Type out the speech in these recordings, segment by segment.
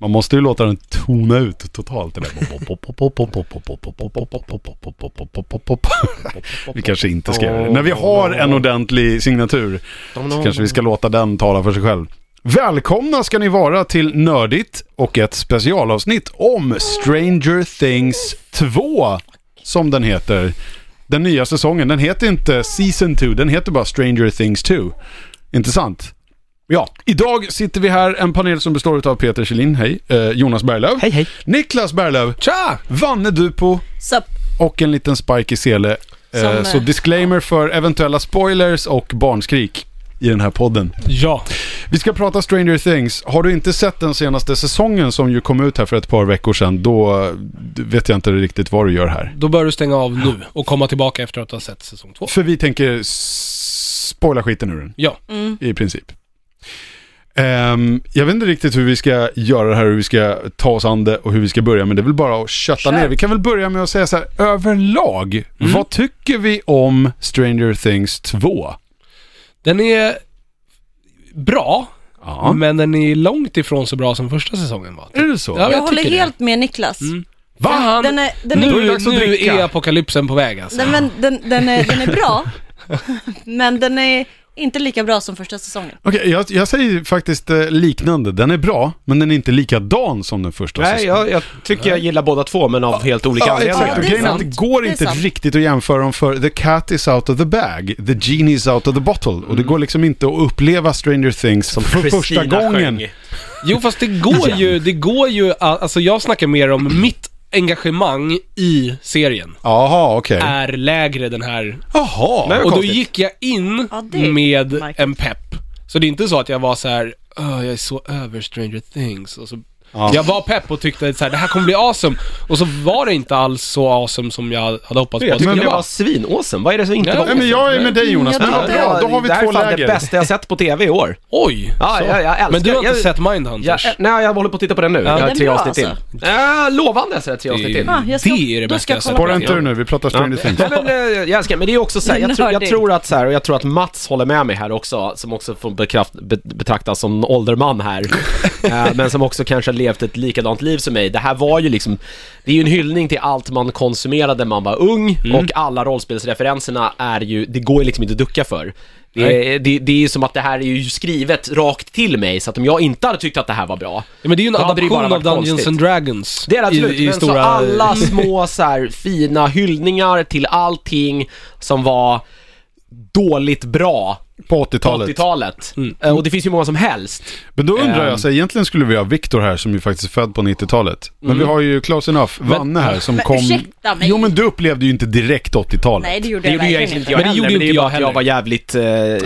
Man måste ju låta den tona ut totalt. det där. Vi kanske inte ska göra det. När vi har en ordentlig signatur så kanske vi ska låta den tala för sig själv. Välkomna ska ni vara till Nördigt och ett specialavsnitt om Stranger Things 2 som den heter. Den nya säsongen. Den heter inte Season 2, den heter bara Stranger Things 2. Intressant. Ja, idag sitter vi här, en panel som består av Peter Kjellin, hej, eh, Jonas Berglöf, hej. Niklas Berglöv, Tja! Vanne Dupo Sup. och en liten spike i sele. Eh, Som, så eh, disclaimer för eventuella spoilers och barnskrik i den här podden. Ja. Vi ska prata Stranger Things. Har du inte sett den senaste säsongen som ju kom ut här för ett par veckor sedan, då eh, vet jag inte riktigt vad du gör här. Då bör du stänga av nu och komma tillbaka efter att du har sett säsong två. För vi tänker s- spoila skiten ur den. Ja. Mm. i princip. Ehm, jag vet inte riktigt hur vi ska göra det här, hur vi ska ta oss an det och hur vi ska börja, men det är väl bara att kötta Kör. ner. Vi kan väl börja med att säga så här, överlag, vad tycker vi om Stranger Things 2? Den är bra, Ja. men den är långt ifrån så bra som första säsongen var. Är det så? Ja, Jag, jag håller tycker det. helt med Niklas. Fan! Mm. Den är, den, är, Då är det nu dags att nu dricka. är apokalypsen på väg alltså. den, men, den, den, är, den är bra, men den är inte lika bra som första säsongen. Okej, jag, jag säger faktiskt eh, liknande. Den är bra, men den är inte likadan som den första Nej, säsongen. jag, jag tycker jag gillar båda två, men av helt olika Ja, anledningar. exakt. Ja, Och det är grejen är att det sant. går Det är inte sant. riktigt att jämföra dem för the cat is out of the bag, the genie is out of the bottle. Och det går liksom inte att uppleva Stranger Things Som för Mm. Christina första gången. sjöng. Jo, fast det går ju, det går ju, a- alltså jag snackar mer om mitt engagemang i serien Jaha, okej. Äh. är lägre den här. Jaha. Nej, Och då konstigt. gick jag in Ja, det är med märkligt. en pepp. Så det är inte så att jag var så här, "Åh, jag är så över Stranger Things och så Ja. Jag var pepp och tyckte att så här, det här kommer bli awesome. Och så var det inte alls så awesome som jag hade hoppats på. Jag tycker Men det jag- var svinawesome. Vad är det som inte Ja, var Nej, men jag är med dig Jonas. Mm, jag Men vad tyckte bra, då har vi det här två är fan läger. det bästa jag sett på tv i år. Oj! Ja, så. jag- jag älskar- men du har inte jag- sett Jag, Mindhunters? nej, jag håller på att titta på den nu. jag den har är tre bra, avsnitt alltså. in. Äh, lovande alltså, jag har tre avsnitt in. Ah, jag ska- det är det då bästa ska jag jag sett. kolla Spåra inte ur nu, vi pratar Stranger Things. Nej, men, eh, jag älskar, men det är också så här, jag, tror, jag Nördig. tror att så här, och jag tror att Mats håller med mig här också, som också får bekraft, be, betraktas som en ålderman här, Eh, men som också kanske har levt ett likadant liv som mig. Det här var ju liksom, det är ju en hyllning till allt man konsumerade när man var ung, och alla rollspelsreferenserna är ju, det går ju liksom inte att ducka för. Det är, det, det är ju som att det här är ju skrivet rakt till mig, så att om jag inte hade tyckt att det här var bra, Ja, men det är ju en då hade det ju bara adaption av varit Dungeons konstigt. and Dragons. Det är det absolut, i, i men stora... så alla små så här, fina hyllningar till allting som var dåligt bra På på 80-talet. 80-talet. Eh, Och det finns ju många som helst. Men då undrar Ehm. jag, så här, egentligen skulle vi ha Viktor här som ju faktiskt är född på 90-talet. Men Mm. vi har ju Close Enough, Vanne här som Men kom... ursäkta mig. Jo men du upplevde ju inte direkt 80-talet. Nej, det gjorde Det jag gjorde ju verkligen egentligen inte inte. jag Men det heller, gjorde men det inte är ju jag bara att jag heller. var jävligt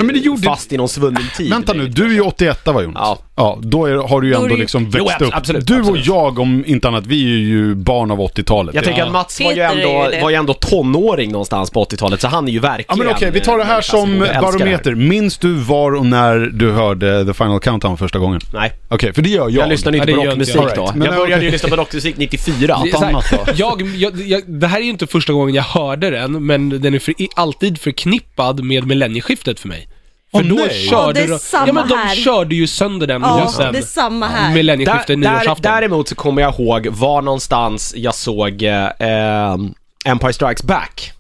eh, men det gjorde- fast i någon svunnen tid. Vänta nu, du är ju 81 va Jonas? Ja. ja då är, har du ju Då är ändå det ju- liksom Jo, växt abs- upp. absolut, du och absolut. jag om inte annat, vi är ju barn av 80-talet. Jag Ja. tänker att Mats var ju, Peter är ändå, ju det. var ju ändå tonåring någonstans på 80-talet, så han är ju verkligen... Ja men okej, vi tar det här eh, som jag älskar det här. barometer. Minns du var och när du hörde The Final Countdown första gången? Nej, Okej, för det gör jag. jag lyssnade Ja, inte det på gör rockmusik inte jag. då. Alright, men jag nej, började okej. ju lyssna på rockmusik 94. Det är så här, annat då. jag, jag, jag, det här är ju inte första gången jag hörde den, men den är för, i- alltid förknippad med millennieskiftet för mig. För Åh, då nej. Åh, det körde är de, samma ja, men de här. körde ju sönder den Ja, musen. det är samma här. Millennieskiftet, Där- där, nyårsafton. Däremot så kommer jag ihåg var någonstans jag såg eh, eh, Empire Strikes Back.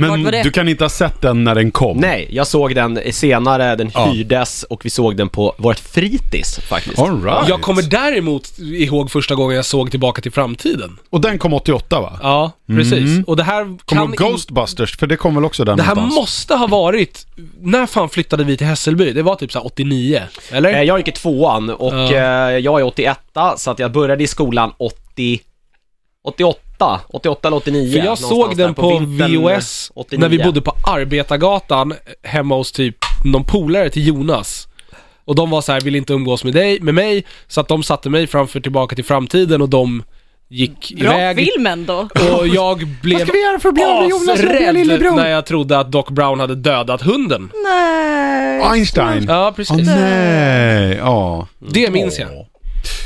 Vart Men var det? du kan inte ha sett den när den kom? Nej, jag såg den senare, den Ja. hyrdes och vi såg den på vårt fritids faktiskt. All right. Jag kommer däremot ihåg första gången jag såg Tillbaka till framtiden. Och den kom 88 va? Ja, precis. Och det här Kommer kan... du ihåg Ghostbusters? För det kom väl också där Det här någonstans? måste ha varit... När fan flyttade vi till Hässelby? Det var typ såhär 89, eller? Eh, Jag gick i tvåan och Ja. eh, jag är 81 så att jag började i skolan 80, 88, 88 eller 89. För jag någonstans såg där den på vintern VOS 89. när vi bodde på Arbetargatan hemma hos typ någon polare till Jonas. Och de var så här, vill inte umgås med dig, med mig, så att de satte mig framför Tillbaka till framtiden och de gick Bra iväg. film ändå. Och jag blev ska vi göra för att bli av med Jonas och bli asrädd lillebror? när jag trodde att Doc Brown hade dödat hunden. Nej. Einstein. Ja, Åh, precis. nej, ja. det minns jag.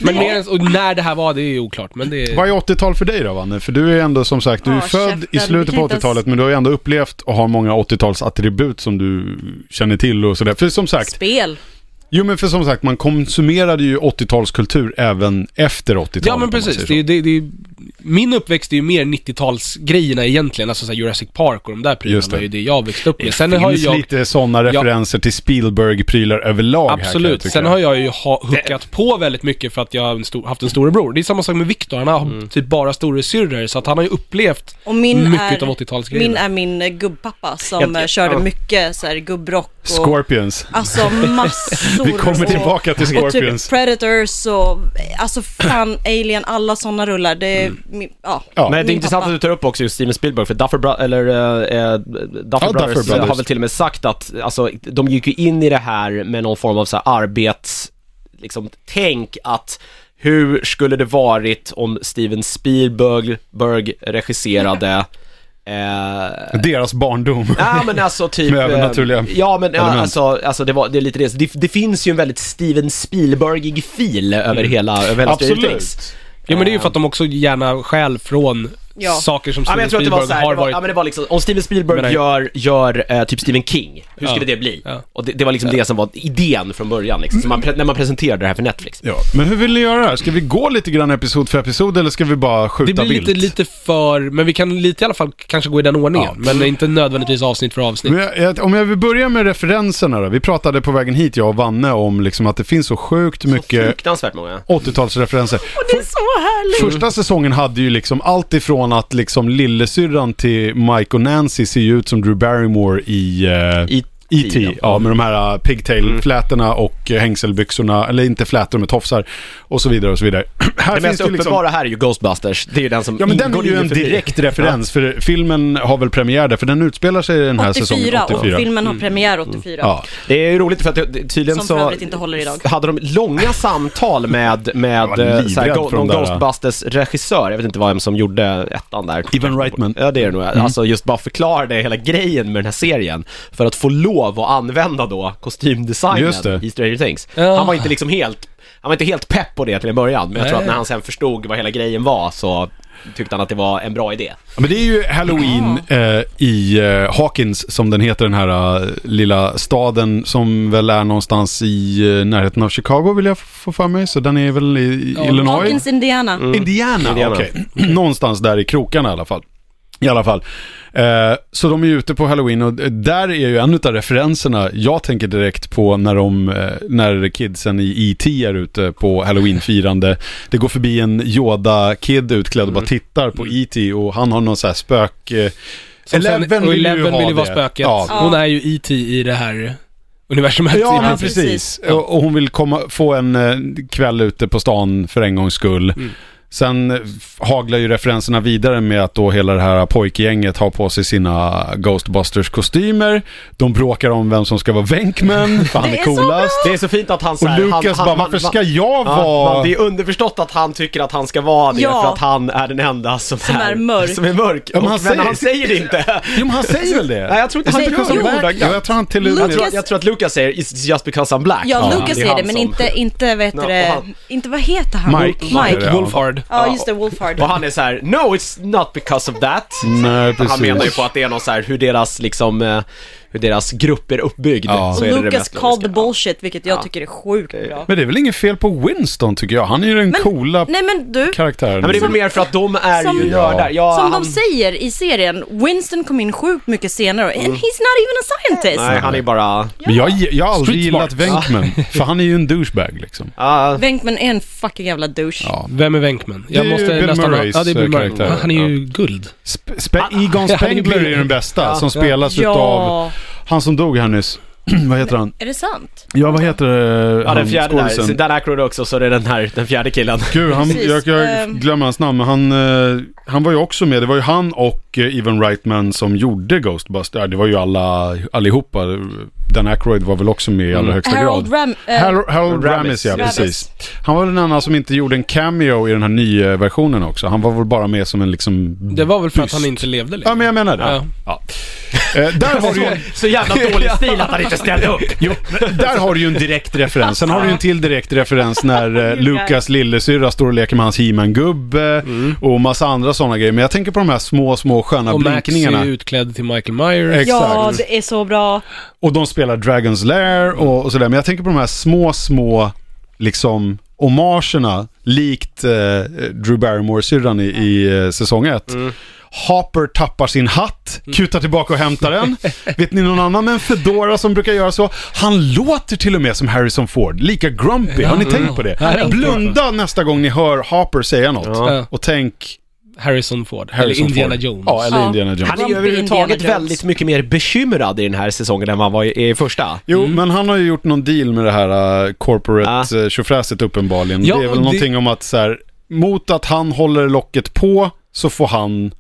Men mer än, och när det här var, det är oklart. Men det är... Vad är 80-tal för dig då Vanne? För du är ändå som sagt, du är Ja, född i käften, slutet vi kan på inte 80-talet ens- men du har ju ändå upplevt och har många 80-talsattribut som du känner till och sådär. För som sagt, Spel. jo men för som sagt man konsumerade ju 80-talskultur även efter 80-talet. Ja om man men säger precis, så. det är, ju- det, är- det är, min uppväxt är ju mer 90-talsgrejerna egentligen, alltså så här Jurassic Park och de där prylarna Just det. var ju det jag växte upp med. Sen Det har ju finns jag, lite sådana referenser till Spielberg-prylar överlag här, kan jag absolut, tycka. sen har jag ju ha, huckat på väldigt mycket för att jag har en stor, haft en storebror. Det är samma sak med Viktor, han har Mm. typ bara storasyrror så att han har ju upplevt Och min mycket är, av 80-talsgrejerna. Min är min eh, gubbpappa som Jag- jag- eh, körde ja. mycket så här gubbrock och... Scorpions. Alltså massor. Vi kommer och- tillbaka till Och Scorpions. typ Predators och, alltså fan, Alien, alla sådana rullar. Det är, min, ja. Ja. Men det är Min intressant pappa. att du tar upp också just Steven Spielberg, för Duffer, Bro- eller, eh, eh, Duffer, Brothers, eh, Duffer Brothers. har väl till och med sagt att, alltså, de gick ju in i det här med någon form av så här arbets, liksom, tänk att hur skulle det varit om Steven Spielberg Berg regisserade eh, Deras barndom. Ja men alltså typ... Med övernaturliga eh, Ja men ja, element. alltså, alltså det, var, det är lite det. det. Det finns ju en väldigt Steven Spielbergig fil över hela, över hela Stranger Things. Mm. Absolut. Ja men det är ju för att de också gärna stjäl från Ja. saker som Ja, men Steven jag tror att det var Spielberg så har här, det var, ja, men varit. det var liksom, om Steven Men Spielberg nej. gör, gör eh, typ Stephen King, hur skulle Ja. det bli? Ja. Och det, det var liksom det som var idén från början liksom, som man, pre- när man presenterade det här för Netflix. Ja, men hur vill ni göra det här? Ska vi gå lite grann episod för episod eller ska vi bara Det skjuta blir vilt? lite, lite för, men vi kan lite i alla fall kanske gå i den ordningen. Ja. Men inte nödvändigtvis avsnitt för avsnitt. Men jag, jag, om jag vill börja med referenserna då. Vi pratade på vägen hit, jag och Vanne, om liksom att det finns så sjukt mycket Fruktansvärt många. 80-talsreferenser. Och det är så härligt! Första säsongen hade ju liksom allt ifrån att liksom lillesyrran till Mike och Nancy ser ju ut som Drew Barrymore i eh, I, E.T. Ja, med de här uh, pigtail-flätorna och eh, hängselbyxorna, eller inte flätor med tofsar och så vidare och så vidare. här Det mest ju liksom- uppenbara här är ju Ghostbusters, det är ju den som Ja men den är går ju ingen en förbi. direkt referens för filmen har väl premiär där för den utspelar sig i den här 84, säsongen 84. och filmen Mm. har premiär 84. Ja. Det är ju roligt för att det, det, tydligen Som så... för övrigt inte håller idag. Hade de långa samtal med, med Jag var livrädd eh, så här, för Go- de någon där. Ghostbusters-regissör, jag vet inte vem som gjorde ettan där. Ivan Reitman. Mm. Ja det är det nog, alltså just bara förklara det hela grejen med den här serien. För att få lov att använda då Just det. kostymdesignen i Stranger Things. Ja. Han var inte liksom helt, han var inte helt pepp på det till en början, men jag tror Nej. att när han sen förstod vad hela grejen var så tyckte han att det var en bra idé. Ja, Men det är ju Halloween eh, i eh, Hawkins som den heter, den här eh, lilla staden som väl är någonstans i eh, närheten av Chicago vill jag f- få för mig. Så den är väl i, i Ja. Illinois? Hawkins, Indiana. Mm. Indiana, Indiana. okej. Någonstans där i krokarna i alla fall. I alla fall. Eh, så de är ju ute på Halloween och där är ju en av referenserna jag tänker direkt på när, de, eh, när kidsen i E.T. är ute på Halloween-firande. Det går förbi en Yoda-kid utklädd och bara tittar på E.T. och han har någon så här spök... Eh, Som sen- Eleven och vill ju ha vill ju vara det. spöket. Ja. Hon är ju E.T. i det här universumet. Ja, i men princip. precis. Och, och hon vill komma, få en eh, kväll ute på stan för en gångs skull. Mm. Sen eh, f- haglar ju referenserna vidare med att då hela det här pojkgänget har på sig sina Ghostbusters-kostymer. De bråkar om vem som ska vara Venkman, för han Det är är så coolast. Det är så fint att han så Och här, han, Lukas han, bara, han- varför ska jag Ja, vara... men det är underförstått att han tycker att han ska vara det Ja. för att han är den enda som, Som är mörk. Som är mörk. Ja, men han säger- men, han, men han säger det inte. Jo, men han säger väl det? Nej, jag tror inte han säger tycker Lukas så om ordagrant. black? Ja, jag tror han till och med... Jag tror, att- jag tror att Lukas säger “It's just because I'm black”. Ja, Ja, Lucas är är han det, men som- inte, inte vet No, du det, och han- inte vad heter han? Mike. Mike. Ja. Wolfhard. Ja, just det, Wolfhard. Och han är så här: “No, it's not because of that”. Nej, precis. Han menar ju på att det är någon så här, hur deras liksom, eh, hur deras grupp är uppbyggd. Ja. Så är det Och det Lucas mest logiska. called bullshit, vilket jag Ja. tycker är sjukt bra. Men det är väl inget fel på Winston tycker jag. Han är ju den Men- coola Nej men du, karaktären. Nej, men det är väl mer för att de är Som- ju nördar. Ja, som han, de säger i serien, Winston kom in sjukt mycket senare och and he's not even a scientist. Mm. Nej, han är bara... Men jag, jag har aldrig Street gillat smart. Venkman, för han är ju en douchebag liksom. Ah, Venkman är en fucking jävla douche. Ja. Vem är Venkman? Det är ju Bill Murrays, eh, Ja, det är Bill Murray. karaktär. Ja, han är ju guld. Sp- Spe- Egon Ja, han är Spengler är ju ju- den bästa, Ja. som spelas Ja. utav han som dog här nyss. vad heter han? Är det sant? Ja, vad heter eh, ja, han? den fjärde där. Så skådisen? Dan Aykroyd också, så det är den här, den fjärde killen. Gud, han, Precis, jag, jag ehm. glömmer hans namn, men han, eh, han var ju också med. Det var ju han och eh, Evan Reitman som gjorde Ghostbusters. Ja, Det var ju alla, allihopa. Dan Aykroyd var väl också med i allra Mm. högsta grad. Harold Ram... eh, Har- Harold Ramis. Ramis, ja Ramis. precis. Han var väl den enda som inte gjorde en cameo i den här nya versionen också. Han var väl bara med som en liksom... Det var väl för Just. att han inte levde längre. Ja, men jag menar det. Ja. Ja. Eh, där, har du, ju- Så jävla dålig stil att han inte ställde upp. jo, men där har du ju en direkt referens. Sen har du ju en till direkt referens när eh, Lukas lillasyrra står och leker med hans He-Man-gubbe och massa andra sådana grejer. Men jag tänker på de här små, små sköna Mm. och Max är blinkningarna. ju utklädd till Michael Myers. Ex- Ja, exakt. det är så bra. Och de spelar Dragon's Lair och, och sådär. Men jag tänker på de här små, små liksom homagerna likt eh, Drew Barrymore-syrran i, i eh, säsong 1. Hopper tappar sin hatt, kutar tillbaka och hämtar den. Vet ni någon annan med en fedora som brukar göra så? Han låter till och med som Harrison Ford, lika grumpy. Har ni tänkt på Mm. det? Nej, Blunda nästa gång ni hör Hopper säga något. Ja. Och tänk Harrison Ford. Eh, Harrison eller Indiana Ford. Jones. Ja, eller Ja. Indiana Jones. Han är ju Grumpy överhuvudtaget Indiana Jones. väldigt mycket mer bekymrad i den här säsongen än vad han var i, i första. Jo, Mm. men han har ju gjort någon deal med det här äh, Ah. corporate-tjofräset uppenbarligen. Ja, det är väl det- någonting om att så här, mot att han håller locket på så får han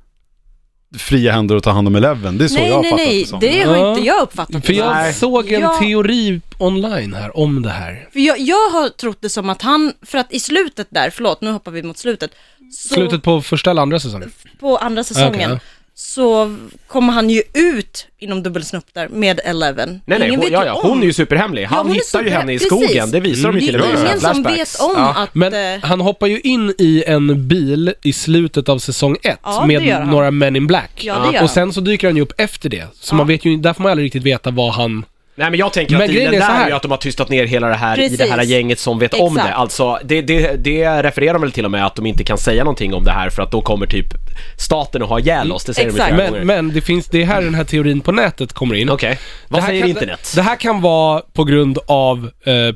fria händer att ta hand om Eleven. Det är så jag Nej, har nej, fattat nej. det som. Det har Ja. inte jag uppfattat. För jag Nej. såg en Ja. teori online här om det här. För jag, jag har trott det som att han, för att i slutet där, förlåt nu hoppar vi mot slutet. Så Slutet på första eller andra säsongen. på andra säsongen Okej, så kommer han ju ut inom dubbelsnopp där med Eleven. Nej, nej, Ingen hon, vet ja, ju ja, om. hon är ju superhemlig. Han hon är hittar ju superhem- henne i precis. skogen, det visar de ju till Det och med i är sina ingen som vet flashbacks. om Ja. att... Men eh, han hoppar ju in i en bil i slutet av säsong ett Ja, det gör med han. några Men in Black. Ja, det gör och sen så dyker han ju upp efter det. Så man vet ju, där får man aldrig riktigt veta vad han... Nej men jag tänker Men att grejen dealen är så där är här. ju att de har tystat ner hela det här i det här Precis. gänget som vet om Exakt. det. Alltså det, det, det refererar de väl till och med att de inte kan säga någonting om det här för att då kommer typ staten och ha ihjäl oss. Det säger Exakt. de ju flera Men, gånger. men det finns, det är här den här teorin på nätet kommer in. Okej, vad Det här säger kan, internet? Det här kan vara på grund av eh,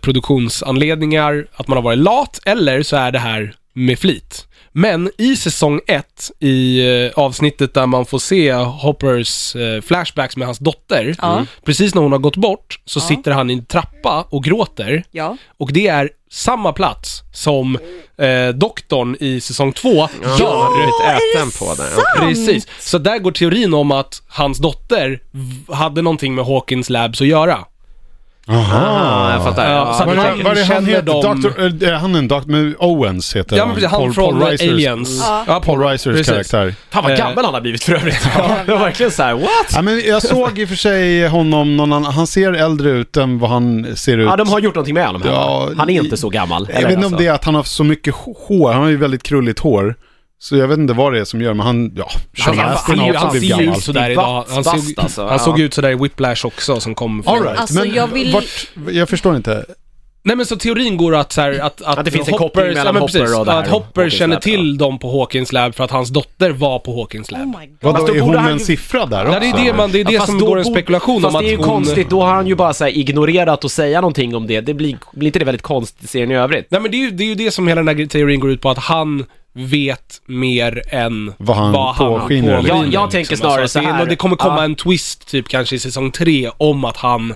produktionsanledningar, att man har varit lat, eller så är det här med flit. Men i säsong 1, i eh, avsnittet där man får se Hoppers eh, flashbacks med hans dotter, Ja. Mm. precis när hon har gått bort så Ja. sitter han i en trappa och gråter. ja. Och det är samma plats som eh, doktorn i säsong 2 Ja, gör. rutt är äten det på den. sant? Precis. Så där går teorin om att hans dotter v- hade någonting med Hawkins Labs att göra. Ah, jag fattar. Ja, så Ja, Vad att- du är det- tänker- vad är det han känner heter? de- Dr. eh, han är en doktor, men Owens heter Ja, men precis. Han Paul- från Paul eh, Reisers- Aliens. Ja. Ja, Paul Ricers Precis. karaktär. Fan vad Eh. gammal han har blivit för övrigt. Det var verkligen såhär, what? Ja, men jag såg i och för sig honom, någon annan, han ser äldre ut än vad han ser ut. Ja, de har gjort någonting med honom. här. Ja, han är i- inte så gammal. Jag eller, vet inte om alltså. det är att han har så mycket hår, han har ju väldigt krulligt hår. Så jag vet inte vad det är som gör, men han, ja, Sean Han, han, Astin han, har också han, ser blivit ju gammal. ut sådär idag. Han, såg, Bast, alltså. han Ja. såg ut sådär i Whiplash också som kom från... All right, Alltså, men jag vill- vart, jag förstår inte. Nej men så teorin går att så här, att, Att det finns en koppling mellan men Hopper precis, och det här. Att Hopper Hawkins känner Lab, till dem på Hawkins Lab för att hans dotter var på Hawkins Lab. Oh my god. Vadå, Fast då är borde hon han en ju- siffra där Ja, också? det är det, man, det, är det Ja, fast som då går en borde- spekulation om fast att det är ju hon... konstigt, då har han ju bara så här ignorerat att säga någonting om det. Det blir, blir inte det väldigt konstigt i serien i övrigt? Nej men det är, ju, det är ju det som hela den här teorin går ut på, att han vet mer än Vad han påskiner, påskiner, eller? Jag- jag tänker snarare att Liksom. Alltså, det är så här. nog- Det kommer komma Ja. en twist typ kanske i säsong tre om att han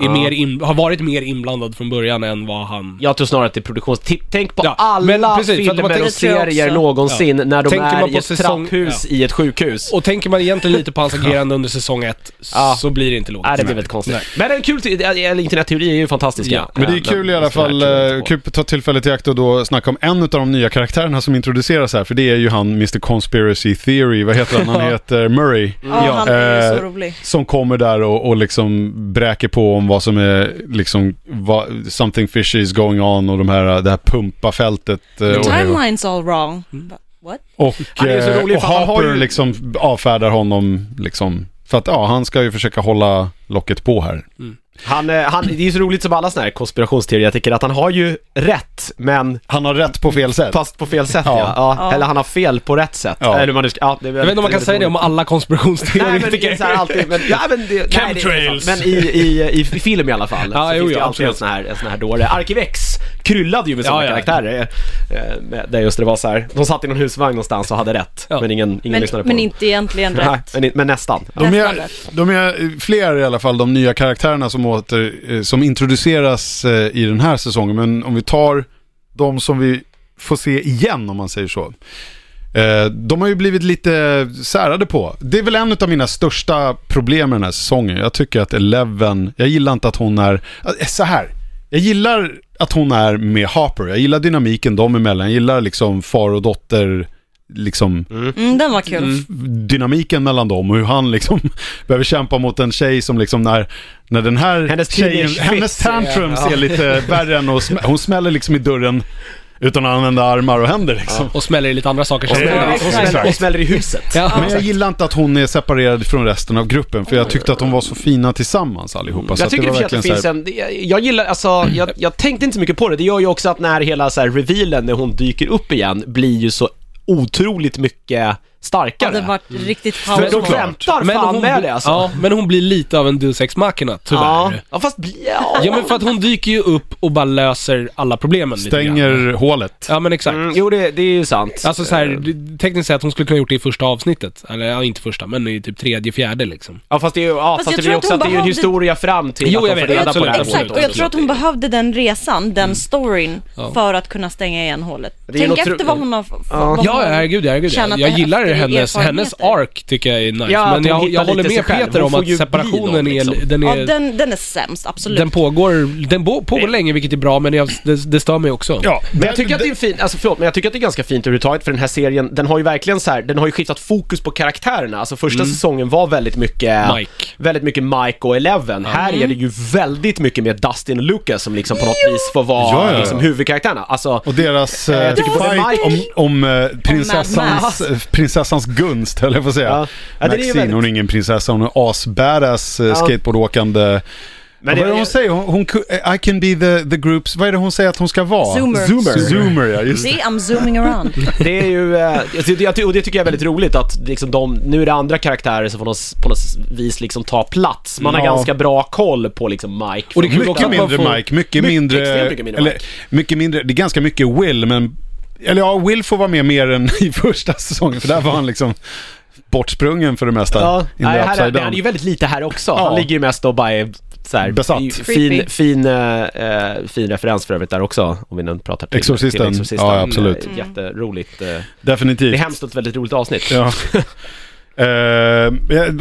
är Ja. mer in, har varit mer inblandad från början än vad han... Jag tror snarare att det är produktions... T- Tänk på Ja, men alla precis, för att de har filmer och tänkt- Det tror jag serier också. någonsin när de Tänker är man i på ett säsong- trapphus i ett sjukhus. Och tänker man egentligen lite på hans agerande under säsong ett, Ja. så blir det inte logiskt. Nej, det blir väldigt konstigt. Men en kul te- eller internetteori är ju fantastisk. Ja. Men det är kul i alla fall, eh, kul att ta tillfället i akt och då snacka om en av de nya karaktärerna som introduceras här, för det är ju han Mr Conspiracy Theory, vad heter han? Han heter Murray. Ja, Ja. han är ju Eh, så rolig. Som kommer där och, och liksom bräker på om vad som är liksom, vad, something fishy is going on och de här, äh, det här pumpafältet. eh, The och- timeline's all Mm. wrong. But What? Och, Han är så eh, rolig och för han har Harper ju- liksom avfärdar honom liksom För att ja, han ska ju försöka hålla locket på här. Han, eh, han, det är ju så roligt som alla sådana här konspirationsteoretiker att han har ju rätt, men Han har rätt på fel sätt. fast på fel sätt ja. Ja. Ja. Ja. Eller han har fel på rätt sätt. Ja. Eller hur man nu ska, ja, det är Jag vet inte om man kan säga det om alla Nej men det är konspirationsteoretiker. så här alltid, men, ja, men, det, nej, det är Chemtrails. men i, i, i, i film i alla fall Ja, så jo, finns det ja, ju alltid en absolut. sån här, en sån här dåre. Arkivex kryllade ju med såna Ja, ja. karaktärer. eh, med- Där just det var så här, de satt i någon husvagn någonstans och hade rätt, Ja. men ingen, ingen Men, lyssnade på men dem. inte egentligen Nej, rätt. men, i- men nästan. Ja. De Nästan är, rätt. de är fler i alla fall, de nya karaktärerna som, åter, eh, som introduceras eh, i den här säsongen. Men om vi tar de som vi får se igen, om man säger så. Eh, De har ju blivit lite särade på. Det är väl en av mina största problem med den här säsongen. Jag tycker att Eleven, jag gillar inte att hon är, eh, så här. Jag gillar att hon är med Harper. Jag gillar dynamiken dem emellan. Jag gillar liksom far och dotter, liksom Mm, den var kul. dynamiken mellan dem och hur han liksom behöver kämpa mot en tjej som liksom när, när den här Hennes tjejen, teenage hennes fits, tantrums ja. är lite värre än och sm- hon smäller liksom i dörren utan att använda armar och händer liksom. Och smäller i lite andra saker. Och som- smäller- Ja, och exakt. smäller- Och smäller i huset. Ja. Men jag gillar inte att hon är separerad från resten av gruppen för jag tyckte att de var så fina tillsammans allihopa. Så jag tycker i och för sig att det finns så här- en, jag- jag gillar, alltså, jag, jag tänkte inte så mycket på det. Det gör ju också att när hela så här revealen, när hon dyker upp igen, blir ju så otroligt mycket Ja, starkare. den var riktigt För de powerful. såklart. skämtar Men fan hon, med det alltså. ja, men hon blir lite av en Deus Ex Machina, ja. tyvärr. ja fast, bli- ja. Ja, men för att hon dyker ju upp och bara löser alla problemen lite grann. Stänger hålet. Ja, men exakt. Mm, jo, det, det är ju sant. Alltså så här, du- tekniskt sett hon skulle kunna gjort det i första avsnittet. Eller ja, inte första, men i typ tredje, fjärde liksom. ja, fast det är ju, ja, Fast fast jag det tror blir att också hon att det är ju en behövde- historia fram till Jo, att jag de får vet, reda på absolut, det här absolut. Exakt, och jag tror att hon behövde den resan, den storyn, Mm. Ja. för att kunna stänga igen hålet. Det är Tänk något tro- efter vad hon har... f- Ja. vad Ja, hon- ja, herregud, ja, herregud. Känna ja. att Jag det- gillar efter hennes, hennes erfarenheter. ark tycker jag är nice. Ja, att men hon jag, hittar jag håller lite sig med själv. Peter Hon om får att ju bli separationen någon, är, liksom. den är... Ja, den, den är sämst, absolut. Den pågår, den bo- pågår länge vilket är bra men jag, det, det stör mig också. Ja, Men jag tycker att det är en fin, alltså förlåt, men jag tycker att det är ganska fint överhuvudtaget för den här serien, den har ju verkligen så här, den har ju skiftat fokus på karaktärerna. Alltså första Mm. säsongen var väldigt mycket Mike. väldigt mycket Mike och Eleven. Här är det ju väldigt mycket mer Dustin och Lucas som liksom på något vis får vara Ja, ja, ja. Liksom, huvudkaraktärerna. Alltså, Och deras Jag eh, tycker både fight om, Mike- om eh, prinsessans, Max. eh, prinsessans gunst, höll jag på att säga. Ja. Ja, det är ju Maxine, väldigt- hon är ingen prinsessa, hon är asbadass eh, skateboardåkande. men vad är det det- hon säger? Hon, hon, ku- eh, I can be the, the groups, vad är det hon säger att hon ska vara? Zoomer. Zoomer, Zoomer ja just det. See, I'm zooming around. Det är ju, eh, jag ty- jag ty- och det tycker jag är väldigt roligt att liksom de, nu är det andra karaktärer som på något, på något vis liksom tar plats. Man har Ja. ganska bra koll på liksom Mike. Och det är kul också Mycket att man mindre får- Mike, mycket Mycket, mindre... extremt mycket mindre eller, Mike. mycket mindre, det är ganska mycket Will, men... Eller ja, Will får vara med mer än i första säsongen, för där var han liksom bortsprungen för det mesta. Ja, Typ, in the nej, här är, upside men down. han är ju väldigt lite här också. Ja. Han ligger ju mest och bara är så här, Besatt. i- Fin, Creepy. fin, eh, eh, fin referens för övrigt där också, om vi nu pratar till Exorcisten. Till Exorcisten. Ja, absolut. Eh, Jätteroligt. eh. Definitivt. Det är hemskt och ett väldigt roligt avsnitt. Ja. Uh,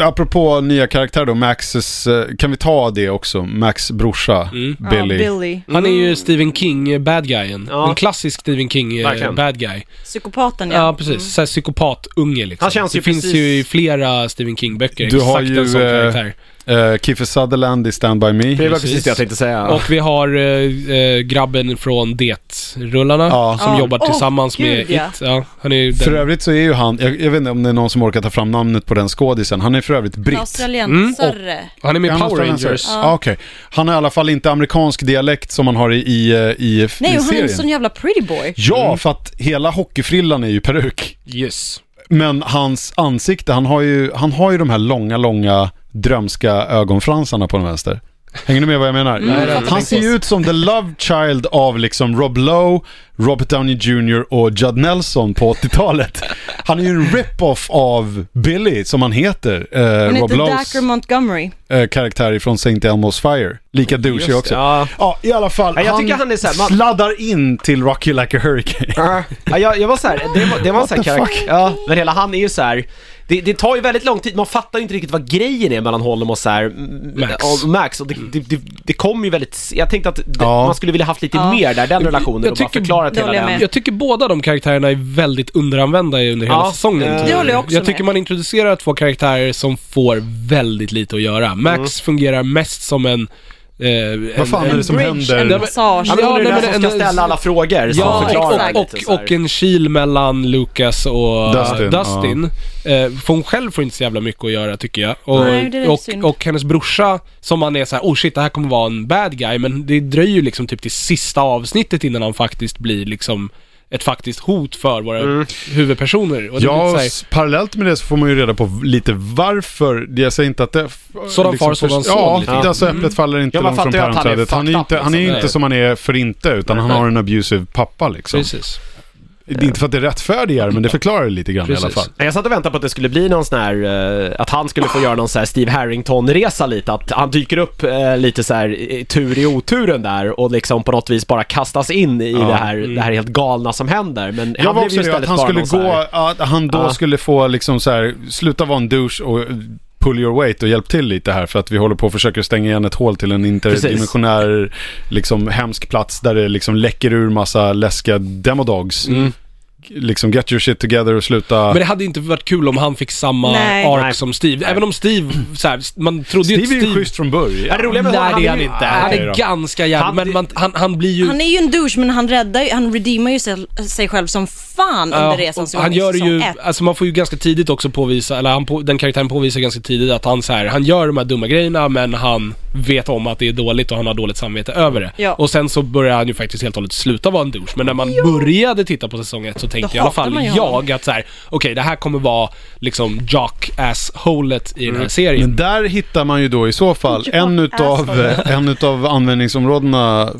apropå nya karaktärer då, Maxes, eh, kan vi ta det också? Max brorsa, Mm. Ja, Billy. Billy. Mm. Han är ju Stephen King eh, bad guyen. Ja. En klassisk Stephen King eh, Verkligen. bad guy. Psykopaten, Ja, ja. Mm. precis. Såhär psykopatunge liksom. Han känns ju det finns precis- ju i flera Stephen King-böcker, Du har exakt ju, en sån eh, karaktär. Eh, Kiefer Sutherland i Stand By Me. Det var Precis. precis det jag tänkte säga. Och vi har eh, eh, grabben från Det-rullarna Ja. som Ja. jobbar Åh, tillsammans gud, med ja. It. Ja, han är ju För den... övrigt så är ju han, jag, jag vet inte om det är någon som orkar ta fram namnet på den skådisen, han är för övrigt britt. Australiensare. Han är med i Han är Power australiensare. Rangers. Ja. Ah, okej. Han har i alla fall inte amerikansk dialekt som man har i, i, eh, i, i Nej, och han är serien. en sån jävla pretty boy. Mm. Ja, Mm. för att hela hockeyfrillan är ju peruk. Yes. Men hans ansikte, han har ju, han har ju de här långa, långa drömska ögonfransarna på den vänster. Hänger du med vad jag menar? Mm. han ser ju ut som the love child av liksom Rob Lowe, Robert Downey Jr och Judd Nelson på 80-talet. Han är ju en rip-off av Billy, som han heter, eh, Han Rob heter Lowes Dacre Montgomery. eh, karaktär ifrån St. Elmo's Fire. Lika douchey också. Ja. Ja. i alla fall. Ja, jag tycker han är så här- man- sladdar in till Rocky Like a Hurricane. Ja, jag, jag var såhär, det var, det var en sån här the karaktär, fuck? ja, men hela han är ju så här. Det, det tar ju väldigt lång tid, man fattar ju inte riktigt vad grejen är mellan honom och så här, m- Max. Och Max. Och det, det, det, det kom ju väldigt, s- jag tänkte att det, Ja. man skulle vilja haft lite Ja. mer där, den relationen Jag och bara tycker- förklarat det hela håller jag den. med. Jag tycker båda de karaktärerna är väldigt underanvända under hela Ja, säsongen. eh, tycker det jag. håller jag också Jag tycker med. man Mm. introducerar två karaktärer som får väldigt lite att göra. Max fungerar mest som en eh, Vad fan en, är det som Bridge händer? and massage. Ja, men Ja, hon är nej, den men som ska en- ställa alla frågor, som Ja, förklarar exakt. och, lite och, så här. och en kil mellan Lucas och Dustin, Dustin. Dustin. Eh, för hon själv får inte så jävla mycket att göra tycker jag. Och, Nej, det är och, synd. och hennes brorsa, som man är så här, oh shit det här kommer vara en bad guy, men det dröjer ju liksom typ till sista avsnittet innan han faktiskt blir liksom ett faktiskt hot för våra Mm. huvudpersoner. Och det är Ja, lite så här, s- parallellt med det så får man ju reda på v- lite varför. Jag säger inte att det... f- Sådan far, sådan först- son, Ja, lite. alltså äpplet faller inte Mm. Ja, man långt från fattar ju att han är päronträdet. Han är ju fucked inte, up, han är ju liksom. inte som han är för inte, utan han Nej. har en abusive pappa liksom. precis. Det är inte för att det rättfärdigar, men det förklarar det lite grann i alla Precis. fall. Nej, Jag satt och väntade på att det skulle bli någon sån här, eh, att han skulle få göra någon sån här Steve Harrington-resa lite, att han dyker upp eh, lite så här i- i tur i oturen där och liksom på något vis bara kastas in i det, här, det här helt galna som händer. Men Mm. Jag han var blev ju också det, att istället han bara skulle någon så här- gå, att han då Ja. skulle få liksom så här, sluta vara en douche och pull your weight och hjälp till lite här för att vi håller på och försöker stänga igen ett hål till en interdimensionär, liksom hemsk plats där det liksom läcker ur massa läskiga demodogs. Mm. Liksom get your shit together och sluta... Men det hade inte varit kul om han fick samma Nej. ark Nej. som Steve. Även om Steve, så här, man trodde ju Steve är att ju Steve... schysst från början. Ja, det roliga med honom, Nej, han det är ju han inte... Han Okej är då. ganska jävla... Han- Men man, han, han blir ju... Han är ju en douche men han räddar ju, han redeemar ju sig, sig själv som fan Ja, under resans och gång han i gör det säsong ju, ett. alltså man får ju ganska tidigt också påvisa, eller han på, den karaktären påvisar ganska tidigt att han så här, han gör de här dumma grejerna men han vet om att det är dåligt och han har dåligt samvete över det. Ja. Och sen så börjar han ju faktiskt helt och hållet sluta vara en douche. Men när man började titta på säsong ett så tänkte Då i alla hatar fall man ju jag honom. att så här, okej det här kommer vara liksom jock-ass-hålet i Mm. den här serien. Men där hittar man ju då i så fall Ja, en utav, eh, asshole. en utav användningsområdena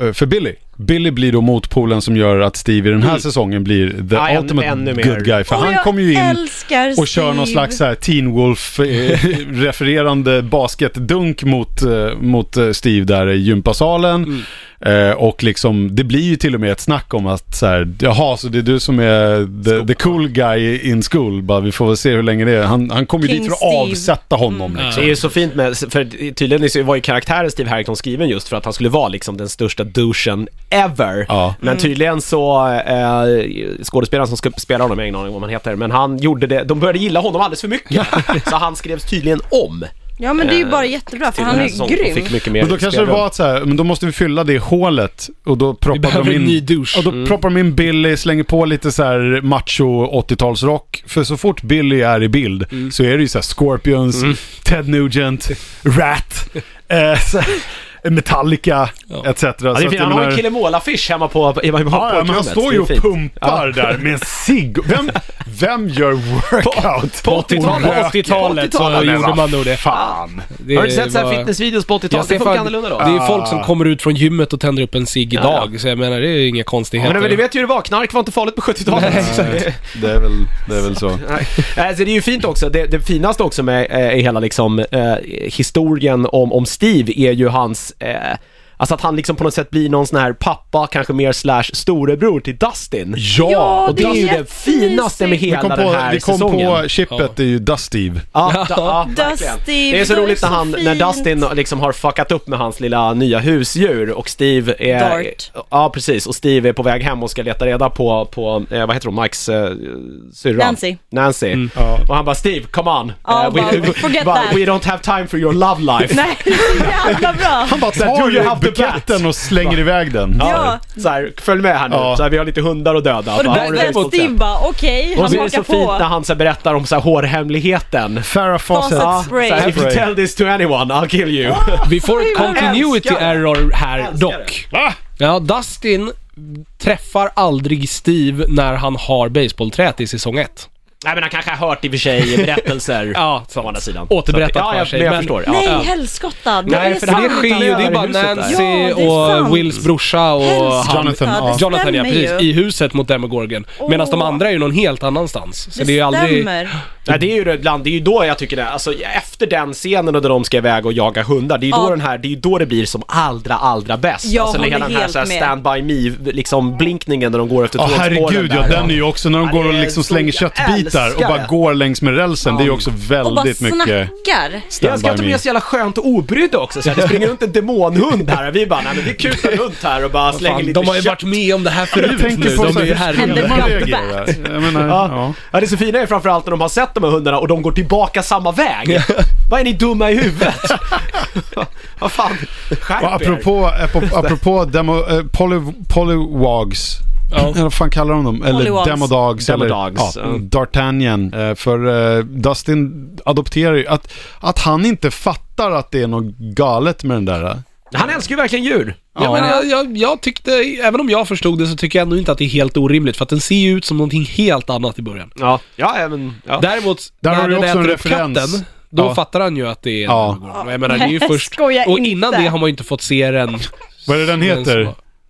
eh, för Billy. Billy blir då motpolen som gör att Steve i den här säsongen blir the Mm. Ja, än- ultimate ännu mer. good guy. För Och han jag kommer ju in älskar och kör någon Steve. slags så här Teen Wolf-refererande basketdunk mot, eh, mot eh, Steve där i gympasalen. Mm. Eh, och liksom, det blir ju till och med ett snack om att så här, jaha, så det är du som är the, the cool guy in school. Bara, vi får väl se hur länge det är. Han, han kommer ju King dit för att Steve. avsätta honom Mm. liksom. Det är ju så fint med, för tydligen så var ju karaktären Steve Harrington skriven just för att han skulle vara liksom den största douchen ever. Ja. Mm. Men tydligen så, eh, skådespelaren som ska spela honom, jag har ingen aning om vad han heter, men han gjorde det, de började gilla honom alldeles för mycket. så han skrevs tydligen om. Ja men det Eh, är ju bara jättebra för till han den är här ju säsongen och Fick grym. mycket mer Men då kanske det spelrum. var att så här, men då måste vi fylla det hålet och då proppar behöver de en in... ny douche. Och då Mm. proppar de in Billy, slänger på lite så här macho 80-talsrock. För så fort Billy är i bild Mm. så är det ju så här Scorpions, Ted Nugent, Rat, eh, så här, Metallica Ja. etc. Så Ja, att det är fint. Alltså, jag han har en menar- kille målarfisch hemma på, på, på, på Ja, ja, men han rummet. står Det är ju och fint. pumpar där med en cigg. Vem, vem gör workout? på 80-talet. Och röker? 80-talet så 80-talet, gjorde vad man nog det. Fan. Det Har du inte sett så här var- fitnessvideos på 80-talet? Jag Det ser funkar fan- annorlunda då. Det är folk som kommer ut från gymmet och tänder upp en cigg Ja, idag, så jag menar det är inga konstigheter. men, men du vet ju hur det var, knark var inte farligt på 70-talet. Nej, exakt. Det är väl, det är väl så. Nej. Alltså, det är ju fint också, det, det finaste också med eh, i hela liksom, eh, historien om, om Steve är ju hans eh, Alltså att han liksom på något sätt blir någon sån här pappa, kanske mer slash storebror till Dustin. Ja, Och det är ju det finaste med Vi jättemysigt. kom hela på, den här vi kom säsongen. på chippet, det är ju Dustive. Ja, da, ja, verkligen. Dusty, det är så det var roligt så när, han, när fint. Dustin liksom har fuckat upp med hans lilla nya husdjur och Steve är... Dart. Ja, precis. Och Steve är på väg hem och ska leta reda på, på eh, vad heter hon, Mikes eh, syrra? Nancy. Nancy. Och han bara Steve, come on. Ja, Eh, bara, forget bara, that." we don't have time for your love life. Nej, det är så jävla bra. Han bara Do you tar have the buketten bat? och slänger iväg den. Ja. Så här, följ med här nu. Ja. Så här, vi har lite hundar att döda. Och det Bara, bästa har du är lust att att se? Steve bara, okej, Och han så är det hakar så fint när på. han så här, berättar om så här, hårhemligheten. Farah Fawcett. Fawcett. Ja, så här, if you Spray. tell this to anyone, I'll kill you. Vi får ett Jag continuity älskar det. error här Älskar dock. Va? Ja, Dustin träffar aldrig Steve när han har baseballträet i säsong 1. Nej men han kanske har hört i och för sig berättelser. Ja, Från andra sidan. Återberättat Så att- ja, för jag, sig, Men jag men- förstår. Ja. Nej, Ja. helskotta. Det Nej, är för det sant. sker ju. Det är bara Ja, det är Nancy sant. och Wills brorsa och Helskotta, han. Jonathan, ja. det Jonathan ja, stämmer precis. ju. I huset mot Demogorgon. Medan de Åh. andra är ju någon helt annanstans. Så det, är ju aldrig... stämmer. Nej, det är ju det ibland, det är ju då jag tycker det, alltså efter den scenen och där de ska iväg och jaga hundar, det är ju då Ja. den här, det är ju då det blir som allra, allra bäst. Jag alltså håller hela den här, helt så här med. stand by me liksom blinkningen när de går efter Ja, tågspåren herregud där. ja, den är ju också när de Ja, går och det är liksom så slänger jag köttbitar och älskar bara det. går längs med rälsen. Det är ju också Och bara väldigt mycket snackar. Jag stand älskar att by de me. är så jävla skönt och obrydda också, så här, det springer runt en demonhund här och vi bara, nej men vi kutar runt här och bara slänger Fan, lite de har ju kött. varit med om det här förut nu. så De är ju här, här hur skulle herregud. man Händer reagera? Jag menar, Ja. ja. ja, det så fina är framförallt när de har sett de här hundarna och de går tillbaka samma väg. Vad är ni dumma i huvudet? Vad fan, skärp Och apropå, apropå, apropå demo, eh, poly, polywogs. Ja. Eller vad fan kallar de dem? Eller Polywogs. demodogs. Eller, Demodogs, ja, ja. D'Artagnan. Eh, För eh, Dustin adopterar ju, att, att han inte fattar att det är något galet med den där. eh. er. Han älskar ju verkligen djur. Ja, men jag, jag, jag tyckte, även om jag förstod det så tycker jag ändå inte att det är helt orimligt för att den ser ju ut som någonting helt annat i början. Ja, ja, ja, men... Ja. Däremot, Där har när du den också en äter upp referens. katten, då Ja. fattar han ju att det är en Ja. Demogorgon. Jag menar, det är ju Nej, först... skoja Och inte. innan det har man ju inte fått se den... Vad är det den heter?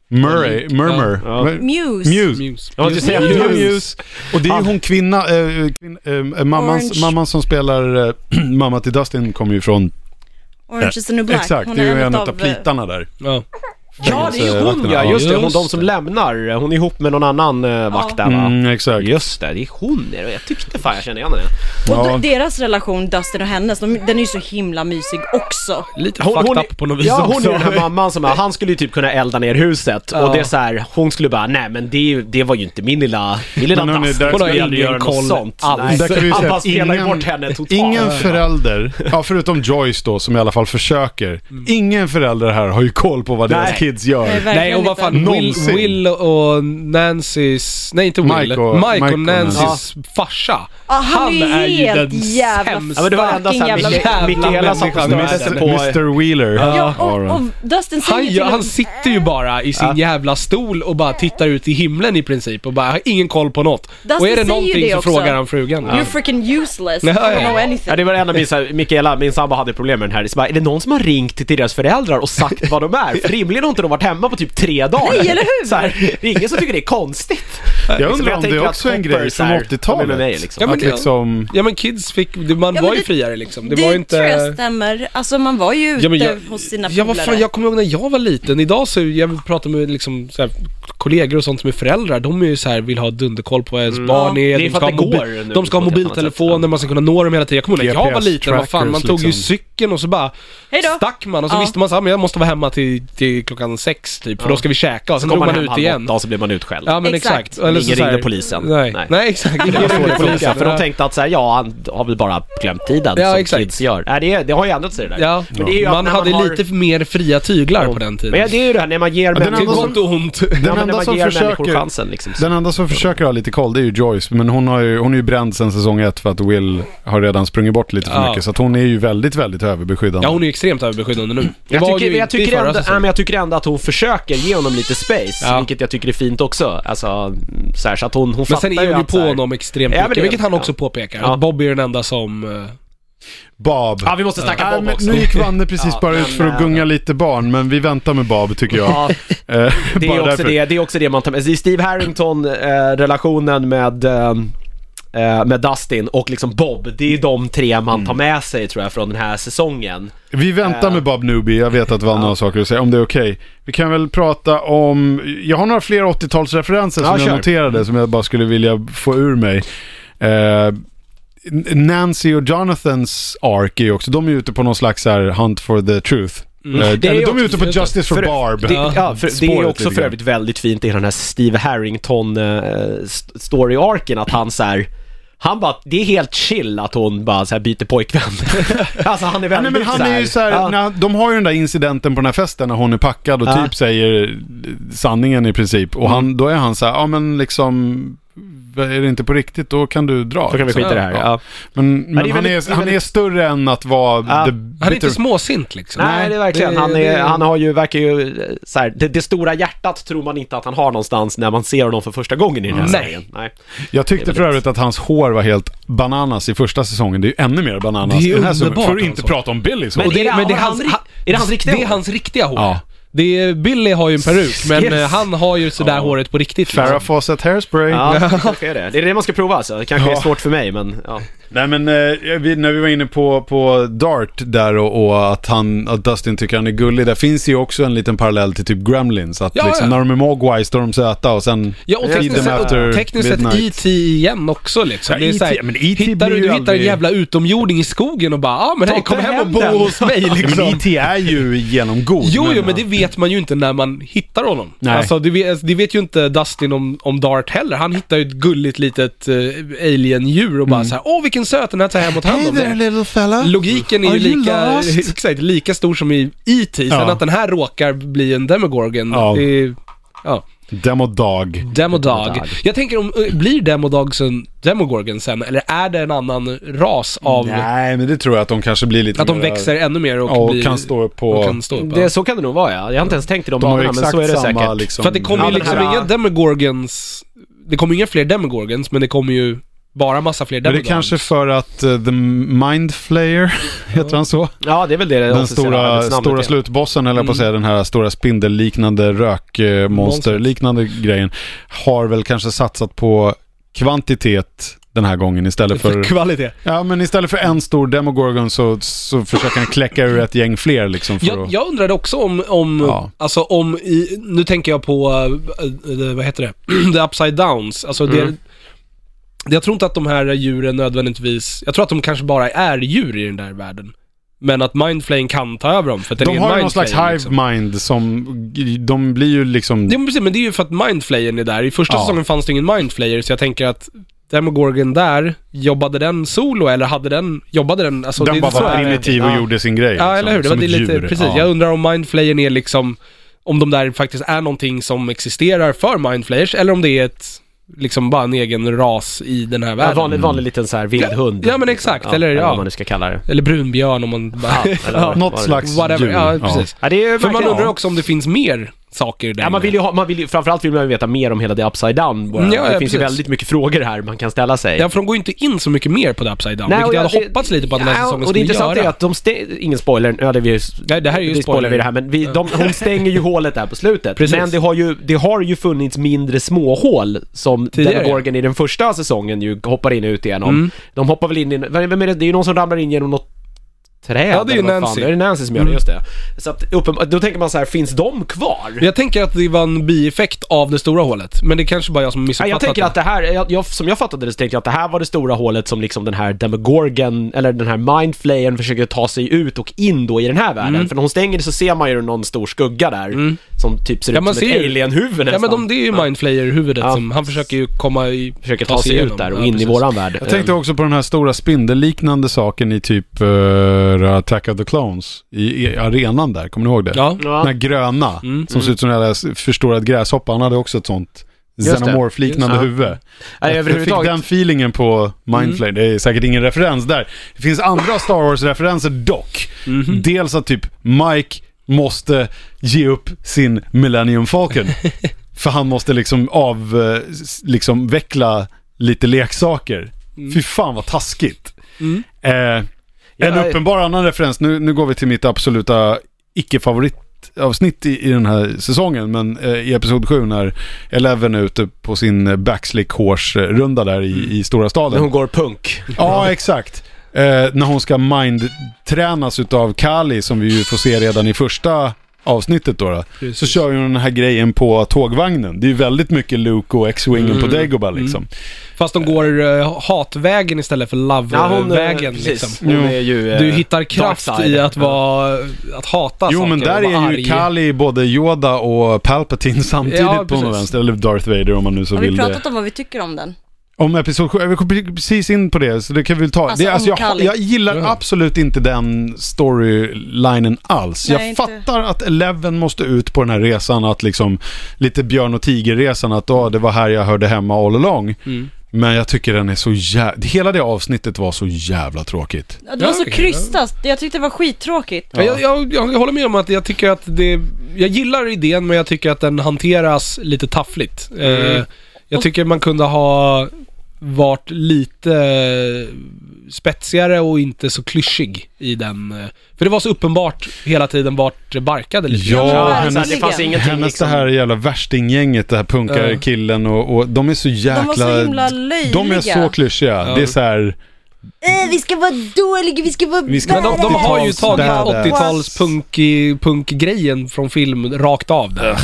Murray, Murmur. Ja. Vad- Muse. Muse. Muse. Jag måste säga Muse. Muse. Ah. Och det är ju hon kvinna, eh, kvin, eh, mamman, Orange. mamman som spelar, eh, mamma till Dustin kommer ju från, Orange is the new black. exakt, Hon det är ju en utav, eh, av plitarna där. Ja. Ja, det är ju hon ja, just det. Hon, de som lämnar. Hon är ihop med någon annan eh, vakt där va? Mm, exakt. Just det, det är hon. är det. Jag tyckte fan jag kände igen henne. Och Ja. d- deras relation, Dustin och hennes, de, den är ju så himla mysig också. Lite Hon, fucked hon, up på något vis ja, också. hon är den här mamman som, han skulle ju typ kunna elda ner huset Ja. och det är så här, hon skulle bara, nej men det, är ju- det var ju inte min lilla, min lilla Men hon är dass. där- Hon Hon har skulle aldrig ingen göra koll något sånt. alls. Nej. Där kan vi ju Han säga bara att spelar ju ingen- bort henne totalt. Ingen förälder, ja, förutom Joyce då som i alla fall försöker, ingen förälder här har ju koll på vad deras Mm. Nej. kids gör. Nej, verkligen Nej, och vad inte. fan, Will, Någonsin. Will och Nancys... Nej, inte Will. Mike och- Mike Mike och och Nancys farsa. Ja, han är ju helt jävla Ja, men det var enda såhär, Fucking Mik- jävla Mikaela satt och människa. Mr, snöade på... Mr Wheeler. Ja, har och, och han. Dustin säger Han, till gör, och- han sitter ju bara i sin jävla stol och bara tittar ut i himlen i princip och bara har ingen koll på något. Dustin och är det säger ju någonting det så också. frågar han frugan. You're freaking useless, Ja, you don't ja. know anything. Ja, det var det enda min, såhär, Mikaela, min sambo hade problem med den här. Det är, så bara, är det någon som har ringt till deras föräldrar och sagt vad de är? För rimligen har inte de varit hemma på typ tre dagar. Nej, eller hur? Så här, det är ingen som tycker det är konstigt. Jag Liksom, undrar om det tänker är att också en Hopper grej så från här, 80-talet. de är med mig, liksom. Ja, men att det- liksom, Ja men kids fick, det- man Ja, men var ju det- friare liksom. Det, Det var ju inte... tror jag stämmer. Alltså man var ju ute Ja, men hos sina ja, vad fan, jag kommer ihåg när jag var liten. Idag så, jag pratar med liksom, så här, kollegor och sånt som är föräldrar. De är ju så här, vill ha dunderkoll på vad ens barn Ja, är. Mm. det är de för ska, att ha det mobi- går nu de ska ha på ett helt annat sätt, mobiltelefoner, ja. man ska kunna nå dem hela tiden. Jag kommer ihåg när jag var GPS liten, vad fan, man trackers, tog ju liksom. cykeln och så bara Hejdå. stack man och så Ja. visste man så här, men jag måste vara hemma till, till klockan sex typ, för då ska vi käka. Och sen drog Kommer man hem ut halv igen. åtta och så blir man utskälld. Ja men exakt. Exakt. Eller Ingen så här- ringde polisen. Nej, Nej. nej, exakt. Det är roligt polisen, för de Ja. tänkte att så här, ja han har väl bara glömt tiden Ja, som exakt. kids gör. Nej, det, är- det har ju ändrat sig det där. Ja, Men det är ju att man när hade har- lite mer fria tyglar på den Men tiden. ja, det är ju det här när man ger den Till enda människor, som- gott och ont. ja, men enda när man som ger människor försöker- chansen liksom. Typ. den enda som försöker ha lite koll det är ju Joyce, men hon, har ju, hon är ju bränd sedan säsong ett för att Will har redan sprungit bort lite för Ja. mycket. Så att hon är ju väldigt, väldigt överbeskyddande. Ja, hon är ju extremt överbeskyddande nu. Det Jag var ju tycker, jag, inte i tycker förra ändå, nej, säsongen. men jag tycker ändå att hon försöker ge honom lite space, Ja. vilket jag tycker är fint också. Alltså, mm, så, här, så att hon, hon Men fattar sen är hon ju att så på här- honom extremt Ja, men det mycket, är- vilket han också ja. påpekar. Ja. Att Bobby är den enda som... eh, Bob. Ja, vi måste snacka Äh, Bob men också. nu gick Vanne precis Ja, bara men, ut för att äh, gunga lite barn, men vi väntar med Bob tycker jag. Ja, Eh, det, är bara också därför. det, det är också det man tar med. Det är Steve Harrington-relationen med, ehm, eh, med Dustin och liksom Bob, det är de tre man tar Mm. med sig tror jag från den här säsongen. Vi väntar Äh. med Bob Newby, jag vet att Vanna har saker att säga, om det är okej. Vi kan väl prata om, jag har några fler 80-talsreferenser Ja, som jag kör. noterade, som jag bara skulle vilja få ur mig. Eh, N- Nancy och Jonathans ark är ju också, de är ju ute på någon slags så här hunt for the truth. Eh, Mm. Det är eller de ju är också- ute på Justice for för- Barb. Det, ja, för, det är Spåret också lite för grann. övrigt väldigt fint i den här Steve Harrington-story-arken att han så här. Han bara, det är helt chill att hon bara så här byter pojkvän. alltså han är Nej väldigt men han så här, är ju såhär, ja. när, de har ju den där incidenten på den här festen när hon är packad och Ja. Mm. typ säger sanningen i princip. Och han, då är han såhär, ja men liksom, är det inte på riktigt då kan du dra. Då kan vi liksom. skita i det här. Ja. Ja. Men, men det han, är väldigt- är, det är han är väldigt- större än att vara... Ja. the Han är bitter- inte småsint liksom. Nej, det är verkligen. det- Han, är, det- han har ju, verkar ju, eh, så här, det, det stora hjärtat tror man inte att han har någonstans när man ser honom för första gången i den här Nej. serien. Nej. Jag tyckte Det är för övrigt väldigt- att hans hår var helt bananas i första säsongen. Det är ju ännu mer bananas Det är i den här säsongen. underbart, För att inte alltså. prata om Billys hår. Men Och är det- har han ri- han- är det hans riktiga Det är hår? hans riktiga hår. Ja. Det är, Billy har ju en peruk, men Yes. eh, han har ju sådär håret på riktigt. liksom. Farrah Fawcett Hairspray. Ja, det kanske är det. Det är det man ska prova alltså. Det kanske är Ja. svårt för mig men ja. Nej men eh, vi, när vi var inne på, på Dart där och, och att, han, att Dustin tycker han är gullig. Där finns ju också en liten parallell till typ Gremlins. Att Ja, liksom, ja. när de är Mogwise då är de söta och sen... Ja, och Feed tekniskt them after sett, tekniskt sett midnight. E.T. igen också liksom. Ja, det är E.T. E så här, men E.T. hittar du, blir ju du hittar en aldrig- jävla utomjording i skogen och bara ah, men hej, kom inte hem och hem bo den." E hos mig Ja, liksom. men E.T. är ju genomgod. Jo, jo, men det vet vet man ju inte när man hittar honom. Nej. Alltså, det, vet, det vet ju inte Dustin om, om Dart heller. Han hittar ju ett gulligt litet eh, alien-djur och bara Mm. så här, åh vilken söt, den här tar jag hem åt hand om. det." little fella. Logiken är ju Are you lika, lost? exakt, lika stor som i E.T. Sen Ja. att den här råkar bli en Demogorgon, Ja. det är... Ja. Demodog. Demodog. Demodog. Jag tänker om, eh, blir Demodog sen Demogorgon sen, eller är det en annan ras av... Nej, men det tror jag att de kanske blir lite Att de mera- växer ännu mer och, Ja, och blir, kan stå upp på... och kan stå upp, ja. Det, så kan det nog vara ja. Jag har inte ens tänkt i de, De har ju banorna, men exakt så är det samma säkert. liksom... För att det kommer Ja, ju den liksom här- inga Demogorgons... Det kommer ju inga fler Demogorgons, men det kommer ju bara massa fler Men det är Demogorgons. kanske för att eh, The Mind Flayer, heter han så? Ja, det är väl det det Den officiella stora, arbetsnamnet stora är. slutbossen, eller jag på att säga, Mm. den här stora spindelliknande rökmonsterliknande grejen, har väl kanske satsat på kvantitet den här gången istället för... Kvalitet. Ja, men istället för en stor Demogorgon så, så försöker han kläcka ur ett gäng fler liksom för Jag, att... jag undrade också om, om Ja. alltså om i, nu tänker jag på, eh, eh, vad heter det, the upside downs, alltså Mm. det, jag tror inte att de här djuren nödvändigtvis, jag tror att de kanske bara är djur i den där världen. Men att mindflame kan ta över dem för att det De är har ju någon Mindflayer, slags hive liksom. mind som... De blir ju liksom... Ja men precis, men det är ju för att mindflayern är där. I första Ja. säsongen fanns det ingen mindflayer så jag tänker att Demogorgon där, jobbade den solo eller hade den, jobbade den, alltså den det, bara så är var det. primitiv och Ja. gjorde sin grej. Ja, liksom, eller hur? Det var som det ett lite, djur. precis. Ja. Jag undrar om mindflayern är liksom, om de där faktiskt är någonting som existerar för mindflayers, eller om det är ett, liksom bara en egen ras i den här Ja, världen. vanlig, vanlig liten så här vildhund. Ja, ja, men exakt, eller ja. vad man nu ska kalla det. Eller brunbjörn om man bara... Ja, eller vad- Något vad det- slags whatever. djur. Ja, precis. Ja, det är ju För man verkligen- undrar också om det finns mer saker där Ja, man inne. vill ju ha, man vill ju, framförallt vill man ju veta mer om hela det upside down bara. Ja, Det ja, finns ju precis. väldigt mycket frågor här man kan ställa sig. Ja, för de går ju inte in så mycket mer på The Upside Down, vilket och jag hade det- hoppats lite på att den här säsongen och det skulle intressanta göra. är att de stänger, ingen spoiler, ja, det, är vi, Nej, det här är ju vi spoiler vi det här men vi, de, hon stänger ju hålet där på slutet. Precis. Men det har, ju, det har ju funnits mindre småhål som Tidigare, Demogorgon i den första säsongen ju hoppar in och ut igenom. Mm. De hoppar väl in i, vem är det, det är ju någon som ramlar in genom något träd Ja, det är ju eller vad fan. Nancy. Mm. Det är det Nancy som gör det, just det. Så att, uppen, då tänker man så här, finns de kvar? Jag tänker att det var en bieffekt av det stora hålet, men det är kanske bara jag som Ja, missuppfattat jag tänker att det här, jag, jag, som jag fattade det så tänkte jag att det här var det stora hålet som liksom den här Demogorgon, eller den här Mindflayern försöker ta sig ut och in då i den här världen. Mm. För när hon stänger det så ser man ju någon stor skugga där, som typ ser Ja, man ut som ser ett ju- alienhuvud nästan. Ja men de, det är ju Mindflayer-huvudet Ja. som, han försöker ju komma i... försöker ta, sig ut igenom. där och Ja, in precis. i våran värld. Ehm, Jag tänkte också på den här stora spindelliknande saken i typ eh, Attack of the Clones. I, I arenan där, kommer ni ihåg det? Ja. Ja. Mm. Den här gröna, som ser ut som en jävla s- förstorad gräshoppa. Han hade också ett sånt det. xenomorph-liknande Just det. huvud. Nej, Jag fick överhuvudtaget. Mm. den feelingen på Mindflare. Det är säkert ingen referens där. Det finns andra Star Wars-referenser dock. Mhm. Mm. Dels att typ Mike måste ge upp sin Millennium Falcon. för han måste liksom av, eh, s- liksom veckla lite leksaker. Mm. Fy fan vad taskigt. Eh, en Ja, uppenbar annan referens, nu, nu går vi till mitt absoluta icke-favoritavsnitt i, i den här säsongen, men eh, i episod 7 när Eleven är ute på sin eh, backslick horse-runda där i, i stora När staden. hon går punk. Ja, exakt. Eh, när hon ska mind-tränas utav Kali, som vi ju får se redan i första avsnittet då, då Precis. så kör ju hon den här grejen på tågvagnen. Det är ju väldigt mycket Luke och X-Wingen Mm. på Dagobah liksom. Fast de går eh, hatvägen istället för eh, love-vägen precis. liksom. Hon Jo. är ju... eh, Du hittar kraft dark side. i att vara, att hata Jo saker men där och vara är ju arg. Kali både Yoda och Palpatine samtidigt på Ja, något precis. vänster. Eller Darth Vader om man nu så Har vill vi det. pratat om vad vi tycker om den? Om episod 7, vi kom pre- precis in på det så det kan vi väl ta. Alltså, det, är- alltså, om jag, Kali. Mm. jag gillar Ja. absolut inte den storylinen alls. Nej, jag inte. fattar att Eleven måste ut på den här resan att liksom, lite björn och tigerresan att ah, det var här jag hörde hemma all along. Mm. Men jag tycker den är så jävla, hela det avsnittet var så jävla tråkigt. Ja, Det var Ja, så okej. krystat. Jag tyckte det var skittråkigt. Ja. Jag, jag, jag håller med om att jag tycker att det, jag gillar idén men jag tycker att den hanteras lite taffligt. Eh, jag tycker man kunde ha varit lite spetsigare och inte så klyschig i den. eh, För det var så uppenbart hela tiden vart det barkade lite. Ja, Ja, hennes- så här, det fanns ingenting Hennes liksom. det här jävla värstinggänget, det här punkarkillen och, och de är så jäkla... De var så himla löjliga. De är så klyschiga. Ja. Det är så här... Eh, vi ska vara dåliga, vi ska vara Vi ska- Men de, de har ju 80-tals tagit badass. 80-tals punky- punkgrejen från film rakt av där.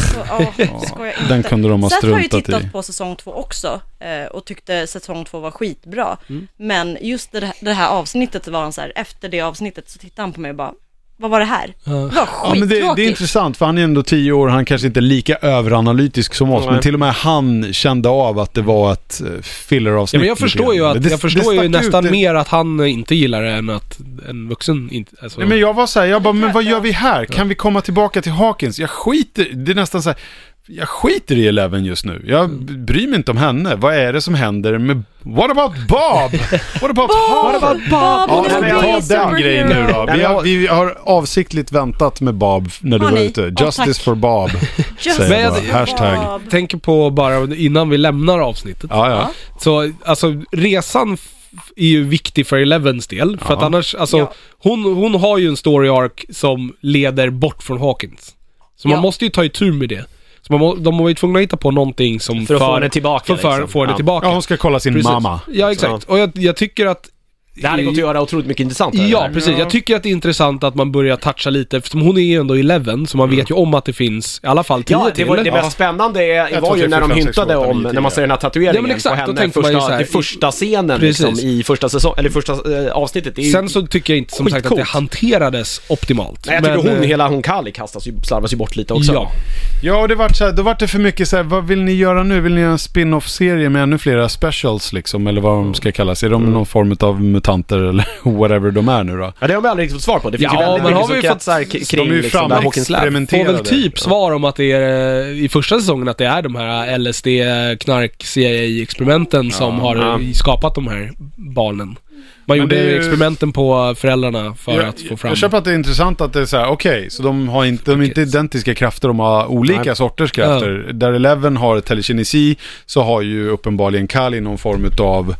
Den kunde de ha Seth har ju struntat i. tittat på säsong två också eh, och tyckte säsong två var Mm. skitbra. Men just det här, det här avsnittet var han så här, efter det avsnittet så tittade han på mig och bara, vad var det här? Det var Ja, men det, det är skittråkigt. intressant för han är ändå tio år, han kanske inte är lika överanalytisk som oss, Nej. men till och med han kände av att det var ett eh, Ja, filleravsnitt. men jag förstår lite ju grann. att, Det- jag det förstår stack ju ut, nästan det- mer att han eh, inte gillar det än att en vuxen inte, alltså, Nej, men jag var så här, jag bara, men vad gör vi här? Kan vi komma tillbaka till Hawkins? Jag skiter, det är nästan så här, jag skiter i Eleven just nu. Jag b- bryr mig inte om henne. Vad är det som händer med, what about Bob? What about Harvard? Bob, Ja, Bob, nej, men Bob, ta den superhero. grejen nu då. Nej, Vi men har, jag- vi har avsiktligt väntat med Bob när du Har var ni? ute. Ja, Justice tack. for Bob, Just säger jag Men bara. jag- Hashtag. Bob. tänker på bara innan vi lämnar avsnittet. Ja, ja. Så alltså resan f- är ju viktig för Elevens del. För att annars, alltså Ja. hon, hon har ju en story arc som leder bort från Hawkins. Så man Ja. måste ju ta itu med det. Så man må, de var ju tvungna att hitta på någonting som För att få henne tillbaka, För, för, liksom. få henne Ja. tillbaka. ja, hon ska kolla sin Precis. mamma. Ja, exakt. Och jag, jag tycker att Det hade gått att göra otroligt mycket intressant. här, Ja, eller? precis. Jag tycker att det är intressant att man börjar toucha lite, eftersom hon är ju ändå 11, så man vet ju om att det finns i alla fall 10 Mm. Ja, det, till. var, det mest spännande är, Ett, var två, ju tre, när de fyra, fem, sex, hyntade sju, åtta, om, nio, när man tio. ser den här tatueringen Ja, men exakt, på då henne, tänkte man ju första, så här, det i- första scenen Precis. liksom, i första säsong, eller första eh, avsnittet. Det är ju, Sen så tycker jag inte som sagt att det Skitcoolt. hanterades optimalt. nej, jag tycker Men, hon, eh, hela hon Kali kastas ju, slarvas ju bort lite också. Ja. Ja, och det vart så här, då vart det för mycket så här, vad vill ni göra nu? Vill ni göra en spin-off-serie med ännu flera specials liksom? Eller vad Mm. de ska kallas. Är de någon form av mutanter eller whatever de är nu då? Ja, det har vi aldrig riktigt fått svar på. Det finns Ja, ju väldigt men mycket har som vi fått- kretsar k- De kring är ju liksom, där Hawkins lab. Får framexperimenterade. väl typ svar om att det är eh, i första säsongen att det är de här eh, LSD, knark, CIA-experimenten som har ja. skapat de här barnen. Man gjorde det är ju- experimenten på föräldrarna för Jag, att få fram... jag köper att det är intressant att det är så här, okej, så de har inte, de är inte identiska krafter, de har olika Nej. sorters krafter. Där Eleven har telekinesi, så har ju uppenbarligen Kali någon form av...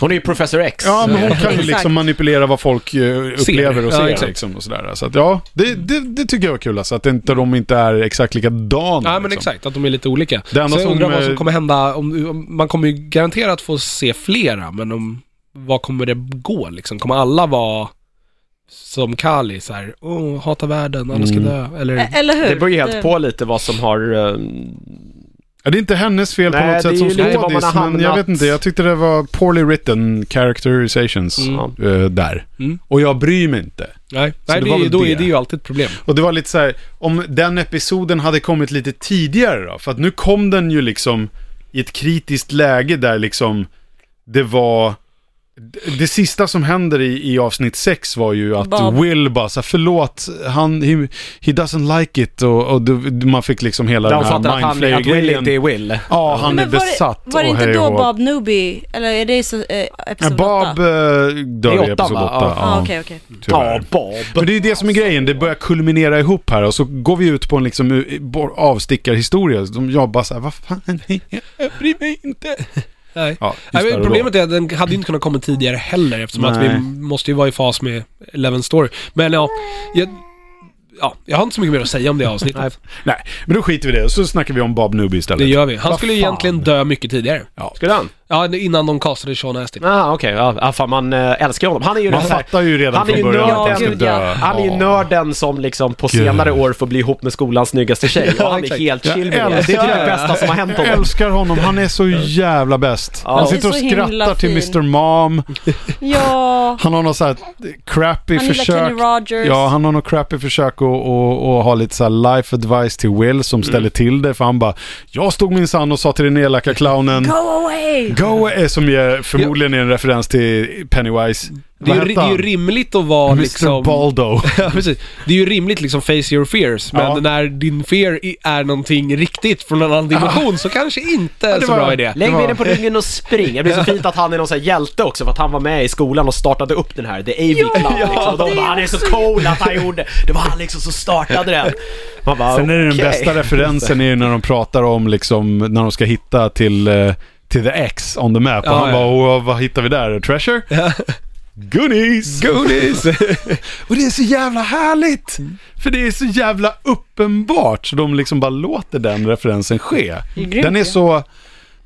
Hon är ju Professor X. Ja, men hon Mm. kan ju Exakt. liksom manipulera vad folk eh, upplever och Ja, ser exakt. liksom och sådär. Så att ja, det, det, det tycker jag är kul alltså, att inte, de inte är exakt likadana. Ja men liksom. exakt, att de är lite olika. Det enda så jag som, undrar vad som eh, kommer hända, om, om, man kommer ju garanterat få se flera, men om, vad kommer det gå liksom? Kommer alla vara som Kali så här, oh, hata världen, alla ska Mm. dö, eller? Eh, Eller hur? Det beror ju helt Det- på lite vad som har... ehm, Ja, det är inte hennes fel på Nej, något det är sätt som ju lite var man skådis, har men jag vet hamnat. inte. Jag tyckte det var poorly written characterizations Mm. eh, där. Mm. Och jag bryr mig inte. Nej, nej det det var är- väl då det. är det ju alltid ett problem. Och det var lite så här, om den episoden hade kommit lite tidigare då, för att nu kom den ju liksom i ett kritiskt läge där liksom det var... det- Det sista som händer i, i avsnitt 6 var ju att Bob. Will bara så här, förlåt, han, he, he doesn't like it och, och du- man fick liksom hela Där hon den fattar här att, han, att Will mindflayer-grejen. inte är Will. Ja, han är Men var det- besatt Var det och inte hej och då hå. Bob Newby, eller är det i så- eh, Ja, episod Bob åtta? eh, dör i åtta, episod va? 8. Ja. Ja, okej, okej. Ja, Bob. Men det är ju det som är grejen, det börjar kulminera ihop här och så går vi ut på en liksom u- bor- avstickarhistoria. De jobbar så här, vad fan, jag bryr mig inte. Nej. Ja, Nej, där men och problemet är att den hade ju inte kunnat komma tidigare heller eftersom att Nej. vi måste ju vara i fas med Eleven Story. Men ja, jag, ja, jag har inte så mycket mer att säga om det avsnittet. då. Nej, men då skiter vi i det så snackar vi om Bob Newby det istället. gör vi. Han Vad skulle ju fan. egentligen dö mycket tidigare. Skulle han? Ja, innan de castade Sean Astin. Ah, okej. Ja, Ja, fan man eh, älskar honom. Han är ju Man den här- fattar ju redan Han är från ju början att nörden. han ska Gud, ja. dö. Han är ju Ja. nörden som liksom på Gud. senare år får bli ihop med skolans snyggaste tjej. Ja, och han är exakt. helt chill med Jag det. Det är typ älskar det det. bästa som har hänt Jag honom. älskar honom, han är så jävla bäst. Ja. Han Han är sitter och så himla skrattar till fin. Mr. Mom. Ja, Han har något så här crappy han gillar försök. Kenny Rogers. Ja, han har nog crappy försök att och, och ha lite så här life advice till Will som ställer Mm. till det. För han bara, jag stod minsann och sa till den elaka clownen, Go away! go är som ger, förmodligen är en referens till Pennywise. Det är, Vad ju, hette det är ju han? rimligt att vara Mr liksom... Baldo. Ja, precis. Det är ju rimligt liksom face your fears, men Ja. när din fear i- är någonting riktigt från en annan dimension så kanske inte är det så var- bra idé. Lägg Det var- benen på ryggen och spring. Det blir så fint att han är någon sån här hjälte också för att han var med i skolan och startade upp den här The Avy Club liksom. Och det De är bara, han är så cool att han gjorde Det var han liksom som startade den. Man bara, Sen är det den okej. bästa referensen är ju när de pratar om liksom, när de ska hitta till, eh, till the X on the map. Ja, och han ja. bara, "Åh, vad hittar vi där? Treasure? Goonies! Goonies! Och det är så jävla härligt! För det är så jävla uppenbart så de liksom bara låter den referensen ske. Det är grymt den är ju. så...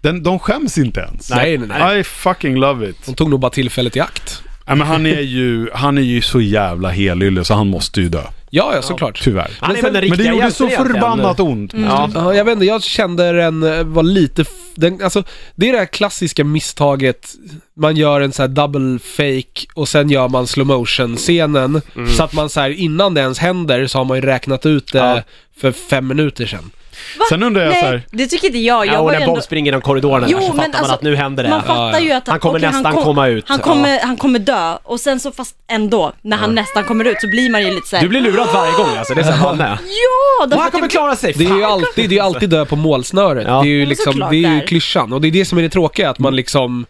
Den, de skäms inte ens. nej, nej, nej. I fucking love it. De tog nog bara tillfället i akt. Nej, men han är ju, han är ju så jävla helylle så han måste ju dö. Ja, ja, såklart. Tyvärr. Han är Men sen- väl den Men det riktiga gjorde så hjälten egentligen. förbannat ont. Ja. Mm. Ja, jag vet inte, jag kände den eh, var lite... f- Den, alltså, det är det här klassiska misstaget. Man gör en så här double fake och sen gör man slow motion scenen Mm. Så att man så här innan det ens händer så har man ju räknat ut det Ja. för fem minuter sedan. Va? Sen undrar jag Nej, så här- det tycker inte jag. Jag Ja, och var ju när ändå... Bob springer genom korridoren Jo, där så men fattar man alltså, att nu händer det. Man Ja, fattar ja. ju att Han kommer okej, nästan komma ut. Han kommer, han kommer dö och sen så fast ändå, när han nästan kommer ut så blir man ju lite såhär Du blir lurad varje gång alltså, det är så här, "Vanne." Ja! Och därför han att kommer jag- klara sig! Det är ju fan. alltid, det är ju alltid dö på målsnöret. Ja. Mm. Det är ju men liksom, såklart det är ju där. klyschan. Och det är det som är det tråkiga, att man liksom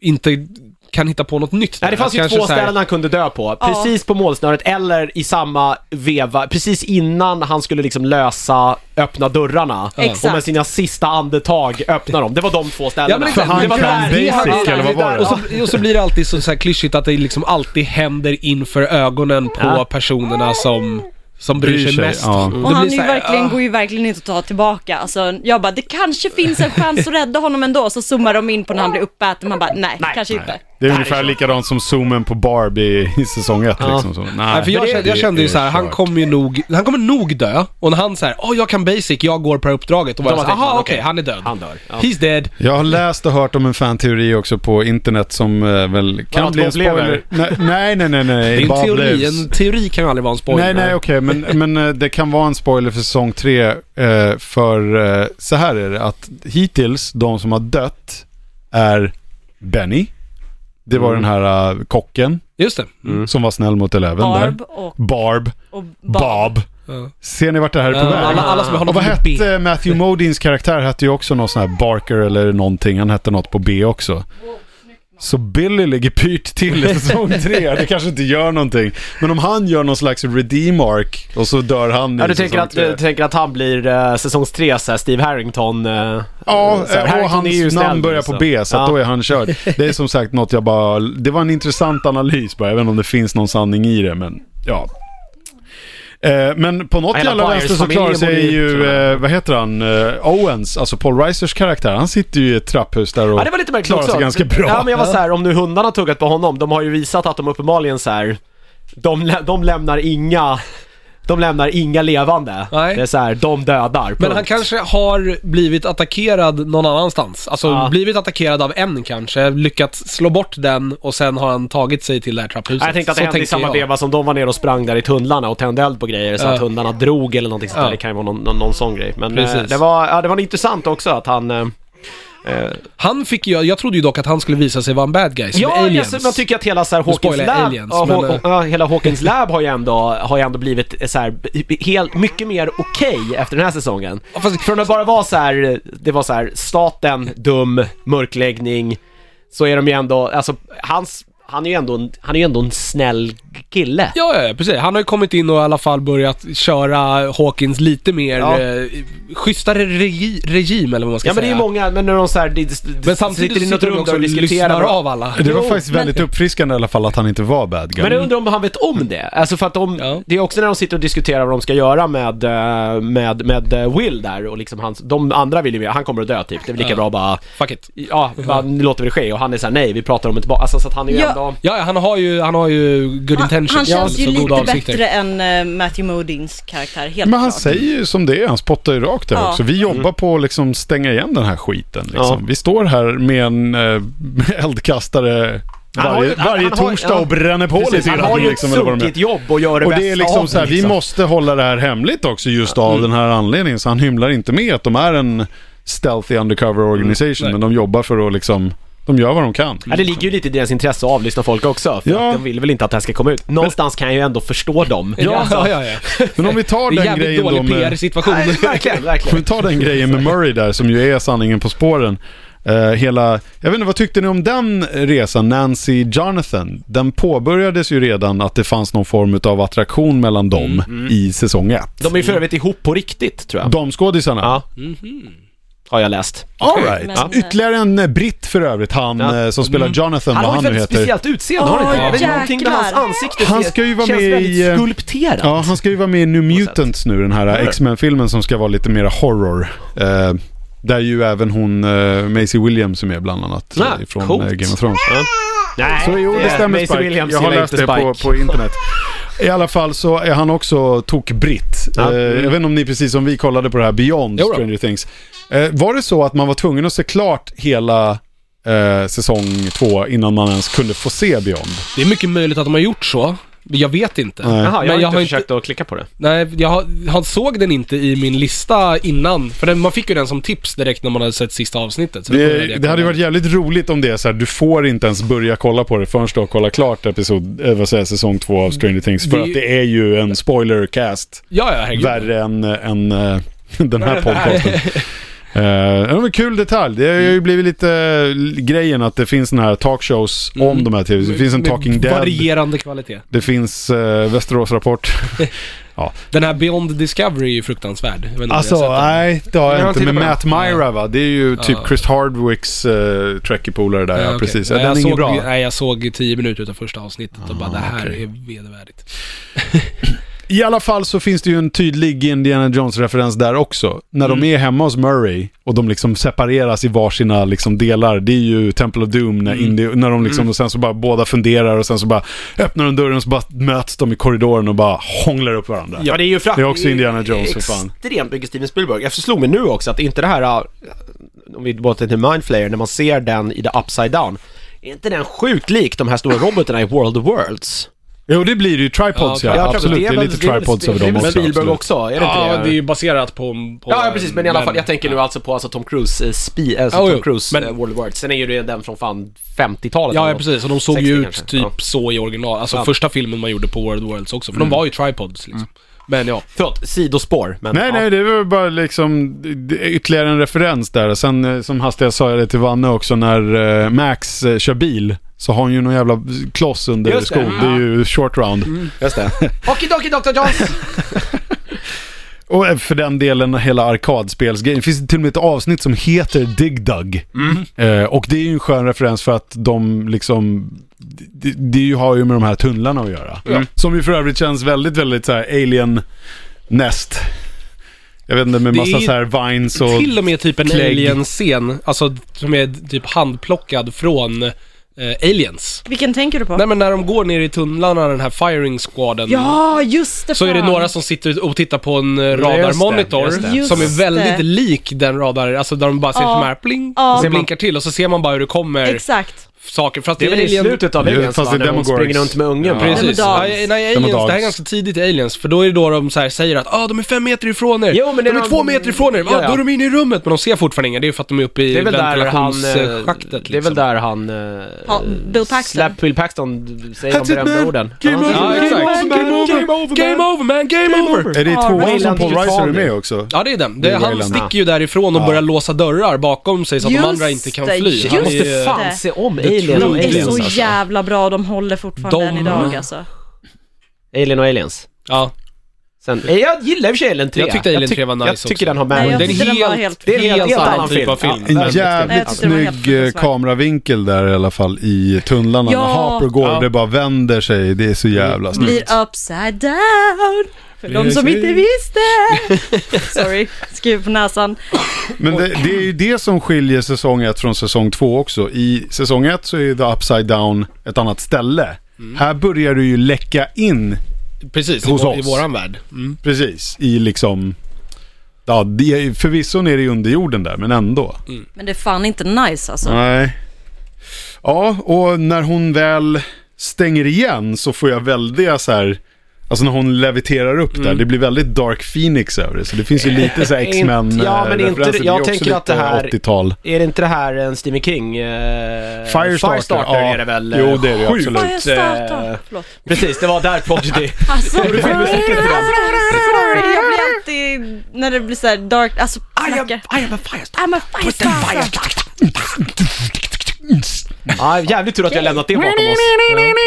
inte kan hitta på något nytt. Nej, det fanns ju Kanske två så här- ställen han kunde dö på. Ja. Precis på målsnöret eller i samma veva, precis innan han skulle liksom lösa, öppna dörrarna. Exakt. Och med sina sista andetag öppna dem. Det var de två ställena. Ja, men exakt. Han det var kan där- basic, det var där- eller vad var det? där- Och så, och så blir det alltid så, så här klyschigt att det liksom alltid händer inför ögonen på Ja. personerna som, som bryr Bryr sig sig, mest. ja. Det Och blir han är så ju här, verkligen, ah. går ju verkligen inte att ta tillbaka. Alltså, jag bara, det kanske finns en chans att rädda honom ändå. Så zoomar de in på när han blir uppäten. Man bara, nej, kanske inte. Det är ungefär likadant som zoomen på Barbie i säsong 1 liksom. Så. Nej, för jag, det- kände, jag kände ju det så här, är han kört. kommer ju nog, han kommer nog dö. Och när han säger åh jag kan basic, jag går på det här uppdraget. Och bara Då så här, tänker aha man, okej, okej, han är död. Han dör. Ja. He's dead. Jag har läst och hört om en fanteori också på internet som eh, väl kan Vadå, bli en att Bob spoiler. lever? Nej, nej, nej, nej. nej. Det är en Bob teori, lives. en teori kan ju aldrig vara en spoiler. Nej, nej, okej, men, men eh, det kan vara en spoiler för säsong tre. eh, För eh, så här är det, att hittills de som har dött är Benny. Det var Mm. den här eh, kocken Just det. Mm. som var snäll mot eleven Barb där. och, Barb. och Bob. Bob. Ja. Ser ni vart det här är på väg? Eh, Alla, alla som har Och något vad med B. hette Matthew Modins karaktär? Hette ju också någon sån här Barker eller någonting. Han hette något på B också. Så Billy ligger pyrt till i säsong tre. Det kanske inte gör någonting. Men om han gör någon slags redeem arc och så dör han Ja, i du tänker säsong att, tre. du tänker att han blir eh, säsongs tre, så här, Steve Harrington? eh, Ja, så här, och Harrington är ju hans snäll, namn börjar på så. B så Ja. att då är han körd. Det är som sagt något jag bara... Det var en intressant analys bara. Jag vet inte om det finns någon sanning i det, men ja. Eh, Men på något Hela jävla vänster så Byers-familjen klarar borde sig ju- ju, eh, vad heter han, eh, Owens, alltså Paul Ricers karaktär. Han sitter ju i ett trapphus där och Ja, det var lite märkligt klarar också. sig ganska bra. Ja, men jag var så här, om nu hundarna har tuggat på honom, de har ju visat att de uppenbarligen så här, de, lä- de lämnar inga, de lämnar inga levande. Nej. Det är så här, de dödar. Men punkt. han kanske har blivit attackerad någon annanstans. Alltså Ja. blivit attackerad av en kanske, lyckats slå bort den och sen har han tagit sig till det här trapphuset. Ja, jag tänkte att det Så hände i tänker samma jag. veva som de var nere och sprang där i tunnlarna och tände eld på grejer så Ja. att hundarna drog eller någonting sånt Ja. där. Det kan ju vara någon, någon, någon sån grej. Men eh, Precis. det var, ja, det var intressant också att han... Eh, eh, Han fick ju, jag trodde ju dock att han skulle visa sig vara en bad guy, som ja, aliens. alltså, man tycker att hela så här, Nu Hawkins spoilar jag lab, aliens, ja, men, Haw- eh. ja, hela Hawkins lab har ju ändå, har ju ändå blivit eh, så här, b- helt, mycket mer okej efter den här säsongen. Ja, fast- Från att bara vara så här, det var så här, staten, dum, mörkläggning, så är de ju ändå, alltså hans, han är ju ändå, en- han är ju ändå en snäll kille. Ja, ja, ja, precis. Han har ju kommit in och i alla fall börjat köra Hawkins lite mer Ja. eh, schysstare regi, regim eller vad man ska Ja men det är säga. ju många, men när de såhär, de, de, men samtidigt sitter i något de rum också där och och diskuterar lyssnar och- av alla. Det var Jo, faktiskt men- väldigt uppfriskande i alla fall att han inte var bad guy. Men jag undrar om han vet om det? Alltså för att de, Ja. det är också när de sitter och diskuterar vad de ska göra med, eh, med, med eh, Will där och liksom hans, de andra vill ju mer, han kommer att dö typ, det är väl lika Ja. bra att bara, Fuck it. ja, bara, nu låter vi det ske och han är såhär nej, vi pratar om det tillbaka, alltså så att han är ju Ja. ändå Ja, ja, han har ju, han har ju good Han, han intentions. känns ju så goda lite avsikter. bättre än eh, Matthew Modins karaktär, helt Men han klart. säger ju som det är, han spottar ju rakt där Ja. också. Vi jobbar på att liksom stänga igen den här skiten. Liksom. Mm. Ja. Vi står här med en eh, eldkastare Han har varje, ju- han- varje han har- torsdag ja. och bränner på Precis, lite han har grann. ju ett Liksom, eller vad de sunkigt gör. jobb och gör det och bästa det är liksom av så här, det, vi liksom. Mm. måste hålla det här hemligt också just av den här anledningen. Så han hymlar inte med att de är en stealthy undercover Mm. organisation, Nej. men de jobbar för att liksom, de gör vad de kan. Ja, det ligger ju lite i deras intresse att avlyssna folk också, för Ja. att de vill väl inte att det här ska komma ut. Någonstans kan jag ju ändå förstå dem. Ja, Alltså, ja, ja, ja. Men om vi tar Det är den jävligt grejen då dålig med... PR-situation. Nej, verkligen, Om verkligen. vi tar den grejen med Murray där som ju är sanningen på spåren. Eh, hela, jag vet inte, vad tyckte ni om den resan, Nancy Jonathan? Den påbörjades ju redan att det fanns någon form av attraktion mellan dem Mm, i säsong 1. De är ju för övrigt ihop på riktigt, tror jag. De skådisarna. Ja. Mhm. Har jag läst. All right. Men- Ytterligare en eh, britt för övrigt, han Ja. Mm. eh, som spelar Jonathan, vad Han har han ett nu väldigt heter. speciellt utseende, har han Ja, inte? Jag vet inte, någonting med hans jäklar. ansikte Han ser- ska ju vara känns med i, väldigt eh, skulpterat. Ja, han ska ju vara med i New Mutants nu, den här X-Men-filmen som ska vara lite mer horror. Eh, Där ju även hon, eh, Maisie Williams, som är bland annat Ah, eh, från coolt. eh, Game of Thrones. Nej, Så jo, det stämmer Maisie Spike. Williams jag har gillar läst inte det på, Spike. på internet. I alla fall så är han också tokbritt. Ja. Eh, jag vet inte om ni precis som vi kollade på det här Beyond Jo då. Stranger Things. Eh, var det så att man var tvungen att se klart hela eh, säsong två innan man ens kunde få se Beyond? Det är mycket möjligt att de har gjort så. men Jag vet inte. Nej. Jaha, jag Men har jag inte har inte- försökt att klicka på det. Nej, jag har- han såg den inte i min lista innan. För den, man fick ju den som tips direkt när man hade sett sista avsnittet. Så då började Det, jag det hade ju kolla. varit jävligt roligt om det är så här, du får inte ens börja kolla på det förrän du har kollat klart episod, eh, vad säger, jag, säsong två av Stranger Things. För Det- att det är ju en spoilercast. Ja, ja, herregud. Värre än, eh, än eh, den här podcasten. Eh, det var en kul detalj. Det har ju blivit lite eh, grejen att det finns såna här talkshows om Mm. de här tv Det finns en Med Talking Dead. Varierande kvalitet. Det finns eh, Västerås Rapport. Den här Beyond Discovery är ju fruktansvärd. Jag vet inte om ni har sett Alltså, den. nej, det har Jag jag har inte. tittat Med på typ Matt Myra va? Det är ju typ Ja. Chris Hardwicks eh, trekkie-polare där, Nej, ja, okej. precis. Ja, Nej, den jag är ingen såg, bra. Ah, Nej, jag såg tio minuter utav första avsnittet och bara det här okej. är vedervärdigt. I alla fall så finns det ju en tydlig Indiana Jones-referens där också. När de är hemma hos Murray och de liksom separeras i varsina liksom delar. Det är ju Temple of Doom när, Indi- när de liksom, och sen så bara båda funderar och sen så bara öppnar de dörren och så bara möts de i korridoren och bara hånglar upp varandra. Ja, det är ju frakt. Det är också Indiana Jones, för fan. Extremt mycket Steven Spielberg. Jag slog mig nu också att inte det här, äh, om vi går till Mindflayer, när man ser den i The Upside Down. Är inte den sjukt lik de här stora robotarna i World of Worlds? Jo, det blir det ju tripods ja. Ja, tror absolut, det är väl- lite väl- tripods över det är dem väl också. Spielberg absolut. också, är det inte Ja, det? det är ju baserat på... på Ja, ja, precis, men i alla fall, jag tänker nu alltså på alltså Tom Cruise eh, spi, alltså Ja, Tom jo, Cruise men- eh, World of Worlds. Sen är ju det den från fan 50-talet. Ja, eller ja, något. precis. Och de såg 60 ju kanske. ut typ Ja. så i original. Alltså Ja. Mm. första filmen man gjorde på World Worlds också. För de var ju tripods liksom. Men ja. Förlåt, sidospår. Men, Nej, ja. nej, det var bara liksom det är ytterligare en referens där. Sen eh, som hastigast sa jag det till Vanne också, när eh, Max eh, kör bil så har han ju någon jävla kloss under Just det, skon. Det är ja. ju short round. Just det. Okidoki Dr. Jones! Och eh, för den delen hela arkadspelsgrejen. Det finns till och med ett avsnitt som heter Dig Dug. Eh, och det är ju en skön referens för att de liksom... Det, det ju har ju med de här tunnlarna att göra. Som ju för övrigt känns väldigt, väldigt så här alien nest. Jag vet inte, med Det är massa ju så här vines och... Till och med typ en Clegg. alien-scen, alltså som är typ handplockad från eh, aliens. Vilken tänker du på? Nej men när de går ner i tunnlarna, den här firing squaden. Ja, just det Så är det fan. några som sitter och tittar på en eh, det, radarmonitor just det. som Just är väldigt det. lik den radar, alltså där de bara ser Ja. som här pling, Ja. och Ser så man- blinkar till och så ser man bara hur det kommer Exakt. saker. För att Det är väl i Alien- slutet av Ja, Aliens, fast va? i När de Demogorgons. springer runt med ungen. va? Precis. Demodogs. Nej, nej, aliens, Demodogs. det här är ganska tidigt i Aliens, för då är det då de så här säger att ah, de är fem meter ifrån er, Jo, men det de är är de- två meter ifrån er, ah, Ja, ja. då är de inne i rummet, men de ser fortfarande inga, det är ju för att de är uppe i Det är väl där han... eh, ventilationsschaktet liksom. Det är väl där han... eh, Ja, Bill Paxton. Slap Bill Paxton d- säger That's de it, berömda man. orden. Game Ja, over, exakt. game over, man. Game over, game over man, game, over! Är det i Ja, tvåan som Wayland Paul Utah Reiser är det. med också? Ja det är den. Det Det, är han Wayland. sticker ju därifrån och börjar låsa dörrar bakom sig så att de Just andra inte kan det, fly. just Han Jag är- måste fan det. se om The Alien och True De är Aliens så alltså. jävla bra, de håller fortfarande De- än idag alltså. Alien och Aliens. Ja, Sen, eh, jag gillar i och för sig Alien 3. Jag tyckte Alien 3 var nice Jag tycker också. den har Nej, det med jag är en tyckte den var helt, helt- helt, Det är en helt annan, annan typ av film. film. Ja. En Nej, jag jävligt tyckte det var helt snygg eh, fruktansvärt. kameravinkel där i alla fall i tunnlarna. Ja. Mm. När Harper går, Ja. det bara vänder sig. Det är så jävla snyggt. Blir upside down. För de som inte visste. Sorry, skruv på näsan. Men det, det är ju det som skiljer säsong 1 från säsong 2 också. I säsong 1 så är ju The Upside Down ett annat ställe. Här börjar du ju läcka in, Precis, i, Hos vår, i oss. våran värld. Mm. precis, i liksom... Ja, det är, förvisso nere i underjorden där, men ändå. Men det är fan inte nice alltså. Nej. Ja, och när hon väl stänger igen så får jag väldiga så här... Alltså när hon leviterar upp där, det blir väldigt Dark Phoenix över det. Så det finns ju lite så här Mm. Inte- X-Men eh, ja, men inte- referenser. Det är jag också tänker att det lite här- Eh, 80-tal. Är det inte det här en Stephen King... eh, Firestarter, Firestarter ja. är det väl? Jo, det är det Sjukt. absolut. Vad har jag eh, startat? Förlåt. Precis, det var där Prodigy... Alltså, sorry, filmen säkert för dem. sorry, jag blir alltid, när det blir såhär dark, alltså knackar. I am a firestarter. I'm a firestarter. Ja, jävligt tur att vi har lämnat det bakom oss. Ja,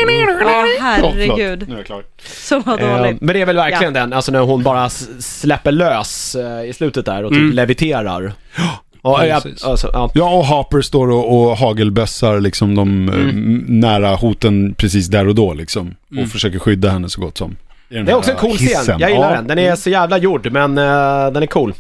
Ja, förlåt. herregud. Nu är jag klar. Så vad Eh, dåligt. Men det är väl verkligen den, alltså när hon bara s- släpper lös eh, i slutet där och typ Mm. leviterar. Ja, ja, precis. alltså, ja. Ja, och Harper står och, och hagelbössar liksom Mm. de eh, m- nära hoten precis där och då liksom. Och försöker skydda henne så gott som. I den Mm. Det är här också en cool hissen. scen, jag gillar Ja. den. Den är så jävla gjord, men eh, den är cool.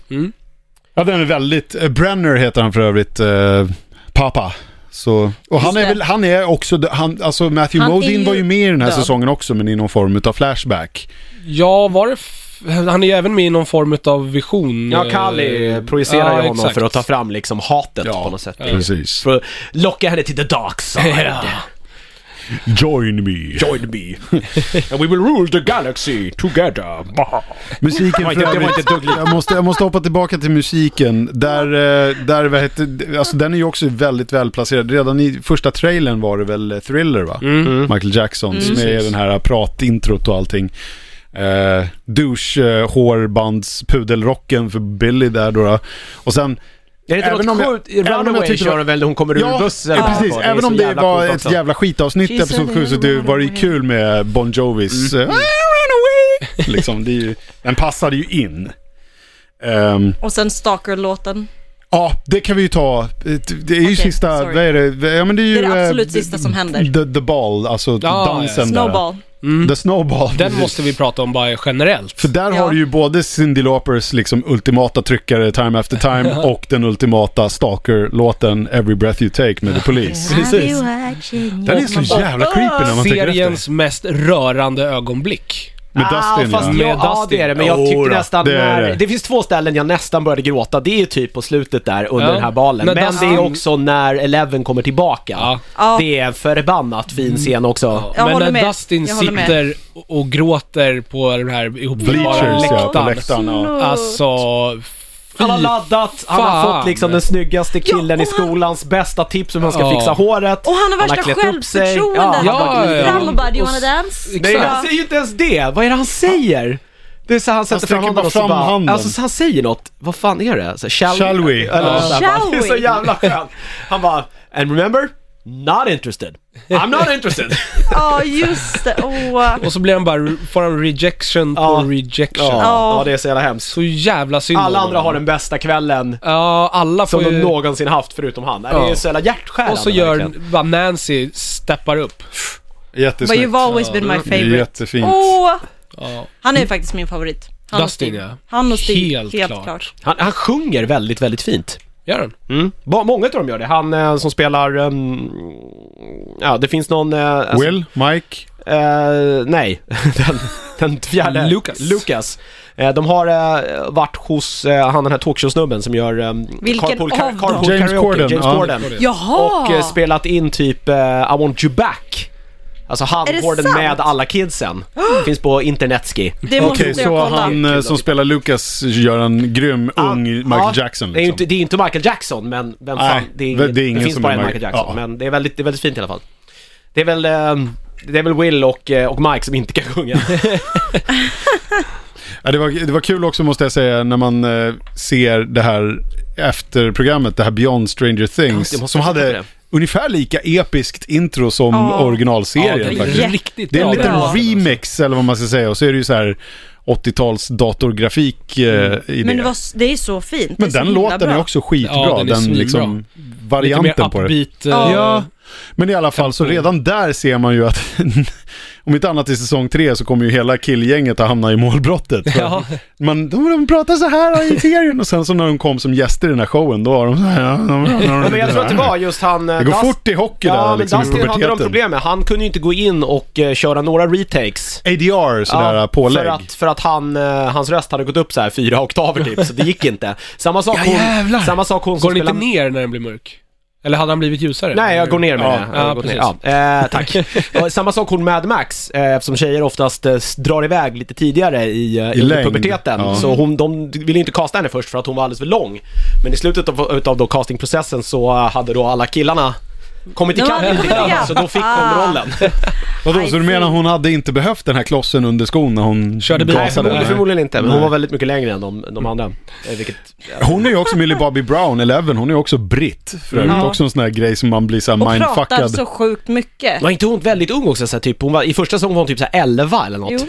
Ja, den är väldigt... eh, Brenner heter han för övrigt, eh, pappa. Så, och han Just är, det. väl, han är också, dö- han, alltså Matthew Han är Modine ju var ju med i den här död. säsongen också men i någon form utav flashback. Ja, var det... F- han är ju även med i någon form av vision. Ja, eh, Kali projicerar ja, ju honom exakt. för att ta fram liksom hatet Ja, på något sätt. precis. För att locka henne till the dark side. Ja. Join me. Join me. And we will rule the galaxy together. Musiken Det var för inte- det var övrigt, inte jag, måste, jag måste hoppa tillbaka till musiken. Där, eh, där vad heter, alltså den är ju också väldigt välplacerad. Redan i första trailern var det väl eh, Thriller va? Mm. Michael Jacksons med den här eh, pratintrot och allting. Eh, douche, eh, hårbands, pudelrocken för Billy där då. då. Och sen... Är det inte Även om något jag- sjukt? även om jag Runaway tyckte det kör var- de väl när hon kommer ur bussen? ja, precis. är Även så om det jävla var coolt ett också. jävla skitavsnitt i She's Episod a 7 så det var ju runaway. kul med Bon Jovis... eh, liksom, det är ju, den passade ju in. Ehm, Och sen Stalker-låten. Ja, det kan vi ju ta. Det är ju Okej, sista, sorry. vad är det? Ja, men det är ju... Det är det eh, absolut sista som händer. The, the ball, alltså ja. dansen Snowball. där. The snowball. Den måste vi prata om bara generellt. För där Ja. har du ju både Cyndi Laupers liksom ultimata tryckare Time After Time och den ultimata stalker-låten Every Breath You Take med The Police. Precis. Den är så jävla creepy när man tänker efter. Seriens mest rörande ögonblick. Med Ah, Dustin Ah, fast ja. Med ja, ja, Dustin. det är det. Men jag tyckte Jo då, nästan det det, är när, det. det. finns två ställen jag nästan började gråta. Det är ju typ på slutet där under Ja. den här balen. När men Dustin- det är också när Eleven kommer tillbaka. Ja. Mm. Ja. Det är förbannat fin scen också. Jag men håller när med. Dustin Jag håller med. sitter och- och gråter på den här ihopfallbara Bleachers ja, på läktaren. läktaren. Ja. Alltså, fy Han har laddat, han har fan. fått liksom den snyggaste killen Ja, i och han- skolans bästa tips om hur han ska Ja. fixa håret. Och han har värsta klätt upp sig. självförtroendet. Ja, Ja, han ja, bara ja. Fram och bara, do you Och wanna s- dance? Nej, Exakt. han säger ju inte ens det. Vad är det han säger? Det är så han sätter sträcker fram bara handen och så fram bara... handen. Alltså så han säger något. Vad fan är det? Så, här, shall, Shall we? Eller Ja. något sånt där. Shall Det är så we? jävla skönt. Han bara, and remember? Not interested. I'm not interested. Ja, just det. Åh. Och så blir han bara, får han rejection Ja. på rejection. ja, det är så jävla hemskt. Så jävla synd om Alla andra honom. har den bästa kvällen Ja, alla får som de ju... någonsin haft förutom han. Det är Ja. så jävla hjärtskärande Och så gör verkligen. bara Nancy, steppar upp. But Jättesnyggt. you've always been my favorite. Jättefint. Åh! Ja. Han är ju faktiskt min favorit. Han och Dustin, Stig. ja. Han och Stig, Helt helt, klart. klart. han, han sjunger väldigt, väldigt fint. Gör den? Mm. Ba- Många utav dem gör det. Han eh, som spelar... ehm, ja, det finns någon... eh, alltså- Will, Mike, Eh, nej, den, den fjärde. Lucas. Lucas. Eh, de har eh, varit hos eh, han den här talkshowsnubben som gör eh, Vilken av dem? Ah. James karaoke, Corden, James ja. Corden. Jaha! Och eh, spelat in typ eh, I want you back. Alltså han, Är det Corden sant? med alla kidsen. Finns på internetski. det måste Okej, jag så kolla. han eh, som spelar Lucas gör en grym ung Michael Ja, Jackson Det är, ju liksom. inte, det är inte Michael Jackson men vem Nej, fan, det, är ingen, det det, är ingen finns som bara är en Michael- Michael Jackson. ja. Men det är, väldigt, det är väldigt fint i alla fall. Det är väl, eh, det är väl Will och, eh, och Mike som inte kan sjunga. Ja, det, var, det var kul också måste jag säga när man eh, ser det här efterprogrammet, det här Beyond Stranger Things, Ja, det måste som jag hade säga det. ungefär lika episkt intro som Ja. originalserien det är faktiskt. jätte- riktigt Det är en bra. liten bra. remix eller vad man ska säga och så är det ju så här 80-tals datorgrafik eh, i Mm. Men det. det, var, det är så Men fint. det är den så himla låten bra. är också skitbra, Ja, den är den svinbra. liksom Lite mer varianten på det. upbeat. eh, Ja, men i alla fall så redan där ser man ju att om inte annat i säsong tre så kommer ju hela killgänget att hamna i målbrottet. För Ja. Man, de, de pratar så här i serien och sen så när de kom som gäster i den här showen då var de så här. Ja, de, de, de, Ja, men jag tror att det var just han... eh, Det går fort i hockey ja, där men liksom i Dustin hade de puberteten. problem med. Han kunde ju inte gå in och eh, köra några retakes. ADR sådär eh, Ja, pålägg. För att, för att han, eh, hans röst hade gått upp så här fyra oktaver typ, så det gick inte. Samma sak Ja, jävlar. hon, samma sak hon Går som den inte spelar... ner när den blir mörk? Eller hade han blivit ljusare? Nej, jag går ner med Ja, det. Jag ja, går ner. precis. Ja, eh, tack. Och samma sak hon Mad Max, eh, eftersom tjejer oftast eh, s- drar iväg lite tidigare i, eh, i, längd. puberteten. Ja. Så hon, de ville inte kasta henne först för att hon var alldeles för lång. Men i slutet av, utav då castingprocessen så eh, hade då alla killarna kommit De ikapp hade lite kommit grann, ikapp. så då fick hon Ah. rollen. Vadå, så du menar hon hade inte behövt den här klossen under skon när hon Körde bil. Nej, gasade? förmodligen, förmodligen inte. Men Nej. hon var väldigt mycket längre än de, de andra. Eh, Vilket, Hon är ju också Millie Bobby Brown, Eleven, hon är ju också britt. För övrigt Ja. också en sån här grej som man blir så Och här pratar mindfuckad. så sjukt mycket. var inte hon väldigt ung också? Så här, typ, hon var, I första säsongen var hon typ så här 11 eller något. Jo.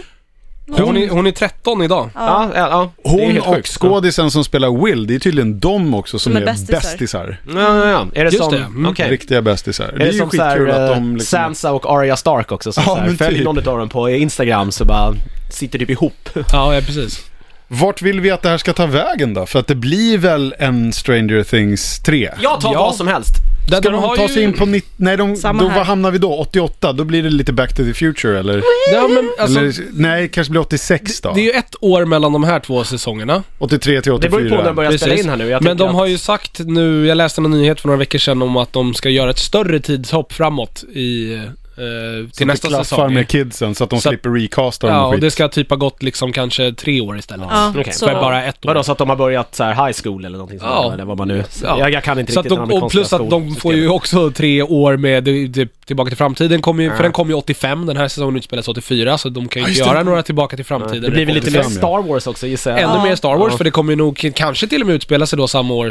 Hon är, hon är 13 idag. Ja, ja, ja. Det är Hon helt och sjukt. skådisen som spelar Will, det är tydligen de också som Som är, är bästisar. bästisar. Ja, ja, ja. Är det Just som... det. Mm. okej. Riktiga bästisar. Det Är är, det, ju som så här, skitkul att de eh, liksom... Sansa och Arya Stark också som Ja, så här, men följer typ. någon av dem på Instagram så bara sitter typ ihop. Ja, ja precis. Vart vill vi att det här ska ta vägen då? För att det blir väl en Stranger Things 3? Jag tar Ja. vad som helst. Där Ska de, ta sig in på 90... Nej, de, Samma då, här. vad hamnar vi då? 88? Då blir det lite Back to the Future eller? Ja, men alltså, eller nej, kanske blir 86 då? det är ju ett år mellan de här två säsongerna. 83 till 84. Det beror ju på när de börjar spela in här nu. Jag Men tänker de att- har ju sagt nu, jag läste en nyhet för några veckor sedan om att de ska göra ett större tidshopp framåt i, eh, Så till att det nästa klaffar säsong. med kidsen så att de Så att- slipper recasta dem Ja, och och skit. det ska typ ha gått liksom kanske tre år istället. Ja, Okej. så. För bara ett år. Vadå, så att de har börjat så här high school eller någonting sånt Ja. där, eller vad man nu... Ja. Jag, jag kan inte Så att riktigt de, den och plus att de amerikanska får ju skolsystemet. också tre år med eh, typ, Tillbaka till framtiden, kommer ju, Ja. för den kom ju 85, den här säsongen utspelas 84, så de kan ju Ja, inte just det. göra några Tillbaka till framtiden. Det blir väl lite mer 85, ja. Star Wars också gissar jag. Ännu Ja. mer Star Wars, Ja. för det kommer ju nog k- kanske till och med utspela sig då samma år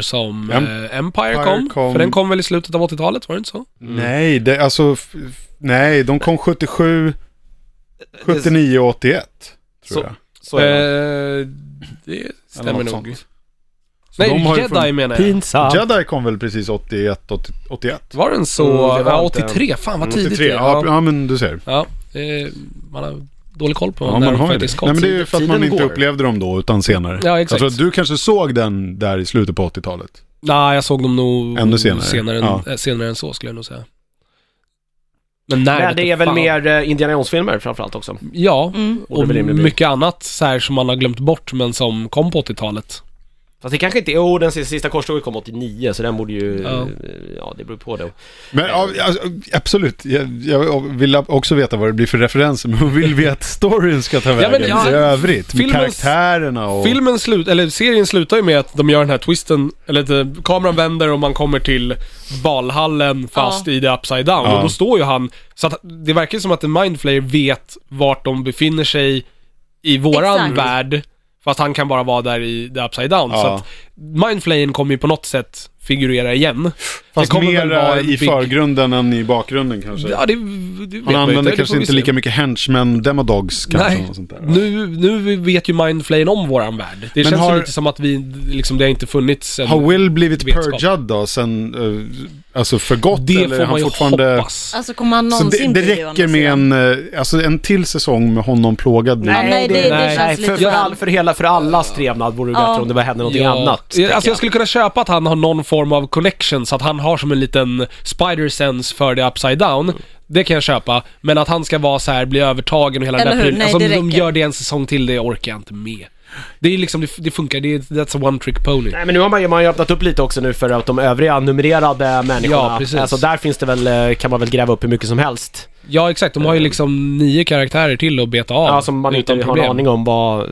Em- som eh, Empire Empire kom, kom. För den kom väl i slutet av 80-talet, var det inte så? Nej, det, alltså... f- f- Nej, de kom 77, 79 och 81. Tror Så- jag. Så är det. Eh, det Eller stämmer något nog. sånt. Så Nej, de har ju Jedi funnits- Eh, menar jag. Pinsamt. Jedi kom väl precis 81, 80, 81? Var den så... Mm, det var ja, inte- 83. Fan vad tidigt 83, det är. ja, Ja, ja men du ser. ja. eh, man har dålig koll på Ja, när man de har ju faktiskt det. kom. Nej, men det är Alltså, ju för att Tiden man inte går. upplevde dem då, utan senare. Ja, exakt. Jag tror att du kanske såg den där i slutet på 80-talet. Nej, jag såg dem nog Ännu senare. Senare, än, Ja. eh, senare än så skulle jag nog säga. Men nej, Men vet det du är väl fan. mer eh, Indiana Jones-filmer framförallt också. Ja, Mm. Borde och väl rimligen bli. mycket annat så här som man har glömt bort men som kom på 80-talet. Fast det kanske inte är... Jo, den sista, sista korståget kom 89, så den borde ju... Ja. Ja, ja det beror på då. Men ja, alltså, absolut, jag, jag vill också veta vad det blir för referenser, men man vill vi att storyn ska ta men vägen ja, i övrigt? Med filmens- karaktärerna och... Filmen slut, eller serien slutar ju med att de gör den här twisten, eller att eh, kameran vänder och man kommer till balhallen fast Ja. i the upside down. Ja. Och då står ju han, så att det verkar ju som att en mindflayer vet vart de befinner sig i våran Exakt. värld. Fast han kan bara vara där i the upside down. Så Ja. att mindflayern kommer ju på något sätt figurera igen. Fast kommer väl vara mer en i big- förgrunden än i bakgrunden kanske. Ja, det, det Han vet man ju använder Det kanske får vi inte se. Mm. lika mycket henchmen demodogs kanske. Nej. och Sånt där. Nu, nu vet ju mindflayen om våran värld. Det Men känns har- ju lite som att vi, liksom, det har inte funnits en... Har Will blivit vetskap. purgad då sen, eh, alltså för gott? Det eller får är han man ju fortfarande... hoppas. Alltså kommer han Så det, någonsin det bli å andra räcker med sidan? en, eh, alltså en till säsong med honom plågad nu? Ja, nej, det, det- det, nej, känns lite... För, för, all, för, hela, för allas trevnad vore det Ja. bättre om det hände någonting annat. Ja, tänker Alltså jag skulle kunna köpa att han har någon form av connection, så att han har som en liten spider sense för det upside down. Det kan jag köpa, men att han ska vara så här, bli övertagen och hela Eller den där hur? prylen. Nej, Alltså om det de räcker. gör det en säsong till, det orkar jag inte med. Det är liksom, det, det funkar, det är, that's a one trick pony. Nej men nu har man, ju- man har ju öppnat upp lite också nu för att de övriga numrerade människorna, Ja, precis. alltså där finns det väl, eh, kan man väl gräva upp hur mycket som helst. Ja exakt, de har ju liksom nio karaktärer till att beta av. Eh. Ja, som man inte utan har en problem. aning om vad,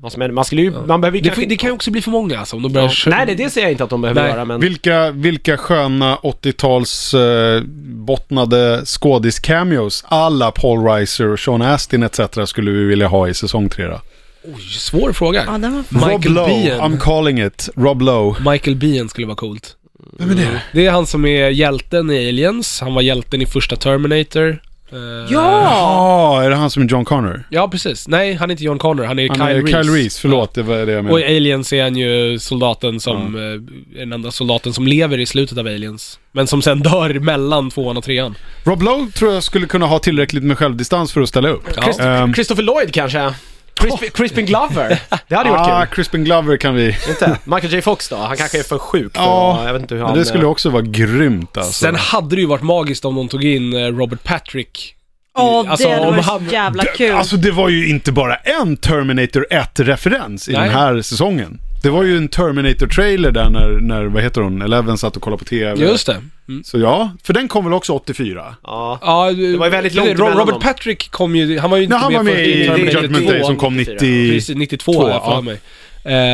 vad som är. Man skulle ju, man behöver ju Det, kanske fin- det kan ju också bli för många alltså, om de börjar inte- Nej det, det säger jag inte att de behöver Nej. göra men... Vilka, vilka sköna 80-tals eh, bottnade skådis-cameos, alla Paul Reiser, Sean Astin etc. skulle vi vilja ha i säsong 3 då? Oj, svår fråga. Ja, den var Rob Michael Lowe, Biehn. I'm calling it, Rob Lowe. Michael Biehn skulle vara coolt. Vem är det? Det är han som är hjälten i Aliens, han var hjälten i första Terminator. Eh, Ja! Ja, är det han som är John Connor? Ja, precis. Nej, han är inte John Connor, han är Han Kyle är Reese. Kyle Reese, förlåt, det var det jag Ja. Och i menade. Aliens är han ju soldaten som, eh, den enda soldaten som lever i slutet av Aliens. Men som sen dör mellan tvåan och trean. Rob Lowe tror jag skulle kunna ha tillräckligt med självdistans för att ställa upp. Ja. Christ, Ehm. Christopher Lloyd kanske? Crispin, Crispin Glover? Det hade ju varit Ah, kul. Crispin Glover kan vi... Inte? Michael J Fox då? Han kanske är för sjuk för Ja, att- jag vet inte hur Ja, han... det skulle eh, också vara grymt alltså. Sen hade det ju varit magiskt om de tog in eh, Robert Patrick. Ja, Alltså, det hade om varit han- så jävla Det- kul. Alltså det var ju inte bara en Terminator 1-referens i Nej. den här säsongen. Det var ju en Terminator-trailer där när, när, vad heter hon, Eleven satt och kollade på TV. Just det. Mm. Så ja, för den kom väl också 84? Ja. Ja, eh, Det var ju väldigt långt Robert emellan dem. Patrick kom ju, han var ju inte När han var med med för i Terminator Judgment Day 2, som kom 94, 90... Precis, 92 Två, har jag för ja. mig.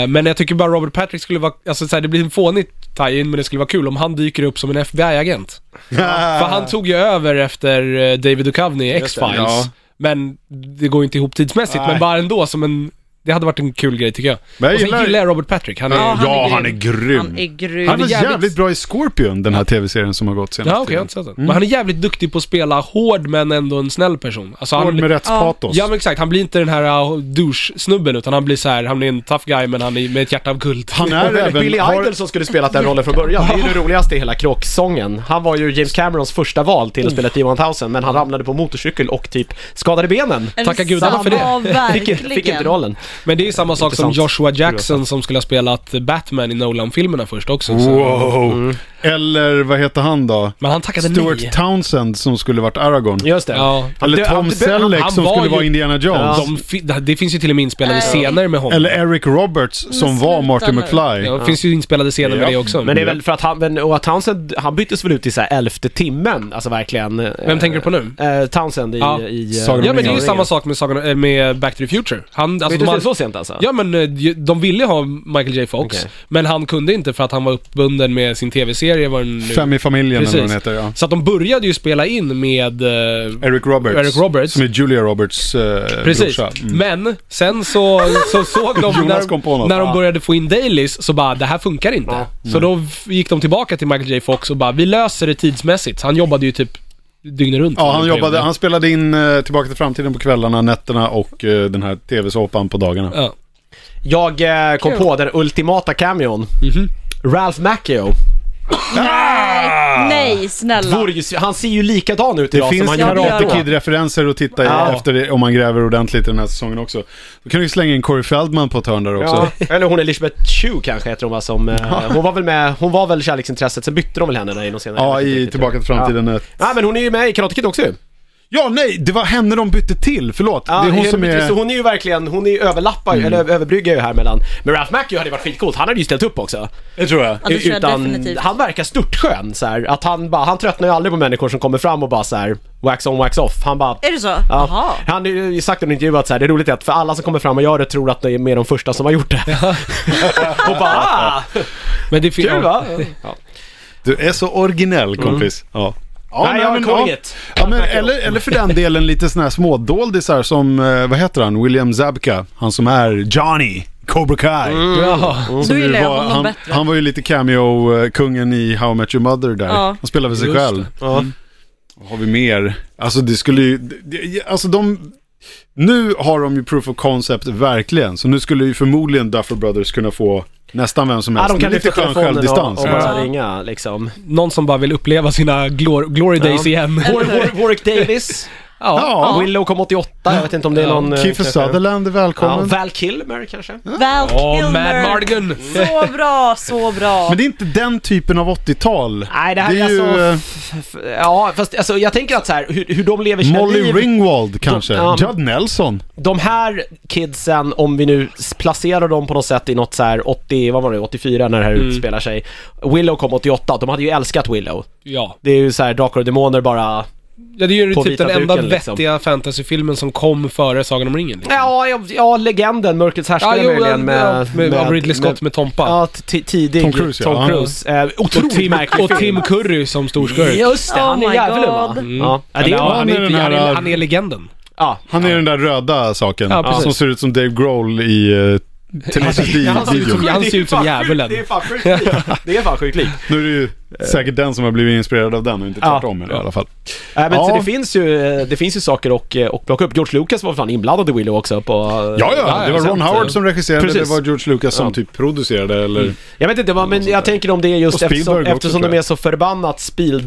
Eh, Men jag tycker bara Robert Patrick skulle vara, alltså så här, det blir en fånig tie-in men det skulle vara kul om han dyker upp som en FBI-agent. För Ah. han tog ju över efter eh, David Duchovny i Just det, X-Files. ja. Men det går ju inte ihop tidsmässigt, Nej. men bara ändå som en... Det hade varit en kul grej tycker jag. Men jag och sen gillar- gillar... jag Robert Patrick, han är... Ja, Ja, han Ja, är han är grym. Han är grym. Han var är jävligt- jävligt bra i Scorpion, den här tv-serien som har gått senast. okej, jag har inte sett den. Mm. Men han är jävligt duktig på att spela hård men ändå en snäll person. Alltså, Hård han... med rättspatos. Ja men exakt, han blir inte den här uh, douche-snubben utan han blir så här, han är en tough guy men han är med ett hjärta av guld. Han är även... Billy har- Idol som skulle spela den rollen från början, det är ju det roligaste i hela kråksången. Han var ju James Camerons första val Oh. till att spela T-1000 men han ramlade på motorcykel och typ skadade benen. Eller Tacka gudarna för det. Ja, Fick, verkligen. fick inte rollen. Men det är ju samma sak som Intressant. Joshua Jackson som skulle ha spelat Batman i Nolan-filmerna först också. så- Wow! Eller vad heter han då? Men han tackade nej. Stuart Townsend som skulle varit Aragorn. Just det. Ja. Eller Han- Tom han- Selleck han som var skulle ju- vara Indiana Jones. De, fi- det finns ju till och med inspelade Nej. scener med honom. Eller Eric Roberts som var sluta Marty nu. McFly. Ja, det finns ju inspelade scener med Ja. det också. Men det är väl för att han, men, och att Townsend, han byttes väl ut i så här elfte timmen, alltså verkligen. Vem tänker du på nu? Eh, Townsend i... Ja. i eh, Sagan om Ja men det är ju Ringen. samma sak med, sagan, eh, med Back to the Future. Han, alltså, Alltså, de de hade- så sent alltså? Ja men eh, ju- de ville ha Michael J Fox, Okej. men han kunde inte för att han var uppbunden med sin tv-serie vad den nu... Fem i familjen eller vad Precis. den heter, ja. Så att de började ju spela in med... eh, Eric Roberts. Eric Roberts. Som är Julia Roberts eh, Precis, brorsa. Mm. men sen så, så såg de Jonas kom på när, något. Ah. när de Ja. började få in dailies så bara det här funkar inte. Så då Mm. f- gick de tillbaka till Michael J Fox och bara vi löser det tidsmässigt. Så han jobbade ju typ dygnet runt. Ja, han, under jobbade, perioden. han spelade in eh, Tillbaka till framtiden på kvällarna, nätterna och eh, den här tv-såpan på dagarna. Ja. Jag eh, kom Kul. på den ultimata cameon. Mhm. Ralph Macchio. Ah! Nej, snälla. Vore ju, han ser ju likadan ut Det idag som finns han gör gjorde Karate då. Kid-referenser att titta i Ja. efter det, om man gräver ordentligt i den här säsongen också. Då kan du ju slänga in Corey Feldman på ett hörn där också. Ja, eller hon Elisabeth Chu kanske heter hon va, som, eh, hon var väl med, hon var väl kärleksintresset, sen bytte de väl henne där i någon senare Ja, jag vet inte i riktigt. Tillbaka till framtiden. ett. Ja men hon är ju med i Karate Kid också ju. Ja, nej, det var henne de bytte till, förlåt. Ja, det är hon som är... Mm. Så hon är ju verkligen, hon är ju överlappar ju, eller överbryggar ju här mellan. Men Ralph Macchio hade ju varit skitcoolt, han hade ju ställt upp också. Det tror jag. Ja, det tror jag definitivt. han verkar störtskön så här, att han bara, han tröttnar ju aldrig på människor som kommer fram och bara så här wax on wax off. Han bara Är det så? Ja. Jaha. Han har ju sagt i en intervju att så här, det roliga är att för alla som kommer fram och gör det tror att det är med de första som har gjort det. och bara ah, Men det fin- kul ja. va? Ja. Du är så originell kompis. Ja. Ja, Mm. Nej, jag kommer inget. Ja, men, eller, eller för den delen lite sådana här smådoldisar som, eh, vad heter han, William Zabka. Han som är Johnny, Cobra Kai. Mm. Ja. Som Då ju gillar jag Mm. var- honom han, bättre. Han var ju lite cameo-kungen i How I Met Your Mother där. Ja. Han spelade väl sig Just själv. Mm. Ja. Vad har vi mer? Alltså det skulle ju, det- alltså de, nu har de ju proof of concept verkligen. Så nu skulle ju förmodligen Duffer Brothers kunna få nästan vem som Ja, helst. de kan med lite lyfta skön telefonen och, självdistans. och bara Ja. ringa liksom. Någon som bara vill uppleva sina glor- glory days Ja. igen. War, War, Warwick Davis, Ja. Ja, Willow kom 88, jag vet inte om det är någon... eh, Kiefer kanske- Sutherland är Ja, välkommen. Val Kilmer kanske? Val Åh, Kilmer. Mad Mardigan. Så bra, så bra. Men det är inte den typen av 80-tal. Nej, det här är är ju alltså- eh, F- Ja, fast alltså, jag tänker att så här, hur, hur de lever sina Molly liv. Ringwald kanske. ja. Judd Nelson. De här kidsen, om vi nu s- placerar dem på något sätt i något så här 80, vad var det, 84 när det här utspelar sig. Willow kom 88, de hade ju älskat Willow. Ja. Det är ju så här Drakar och Demoner bara... ja, det är ju På typ vita den enda duken, liksom. vettiga fantasyfilmen som kom före Sagan om ringen. Liksom. Ja, ja, ja legenden, Mörkrets härskare möjligen med, med, med, av Ridley Scott med Tompa. Ja, t- tidig Tom Cruise, ja. Tom Ja. Cruise. Eh, och, otroligt Tim, märklig och Tim film. Mm. Curry som storskurk. Just det, han Oh är my djävulen va? God. Mm. Ja, det eh, är, Eller, ja, ja, han, är den inte, han, här- är, han är legenden. ja. Han är den där röda saken. Ja, precis. som ser ut som Dave Groll i uh, Tenacious Han ser ut D-videon. som- Ja. Han ser ut som Det är fan djävulen. sjukt- Det är fan sjukt likt. Det är fan sjukt likt. Nu är det ju säkert den som har blivit inspirerad av den och inte Ja. tvärtom i alla fall. Nej Äh, men Ja. så det finns ju, eh, det finns ju saker och, eh, och plocka upp. George Lucas var fan inblandad i Willow också på... Ja, ja, det var Ron eh, Howard som regisserade, Precis. det var George Lucas som typ producerade eller... Mm. Jag vet inte, vad- men jag tänker om det är Och just Spielberg eftersom, också, eftersom tror de jag. är så förbannat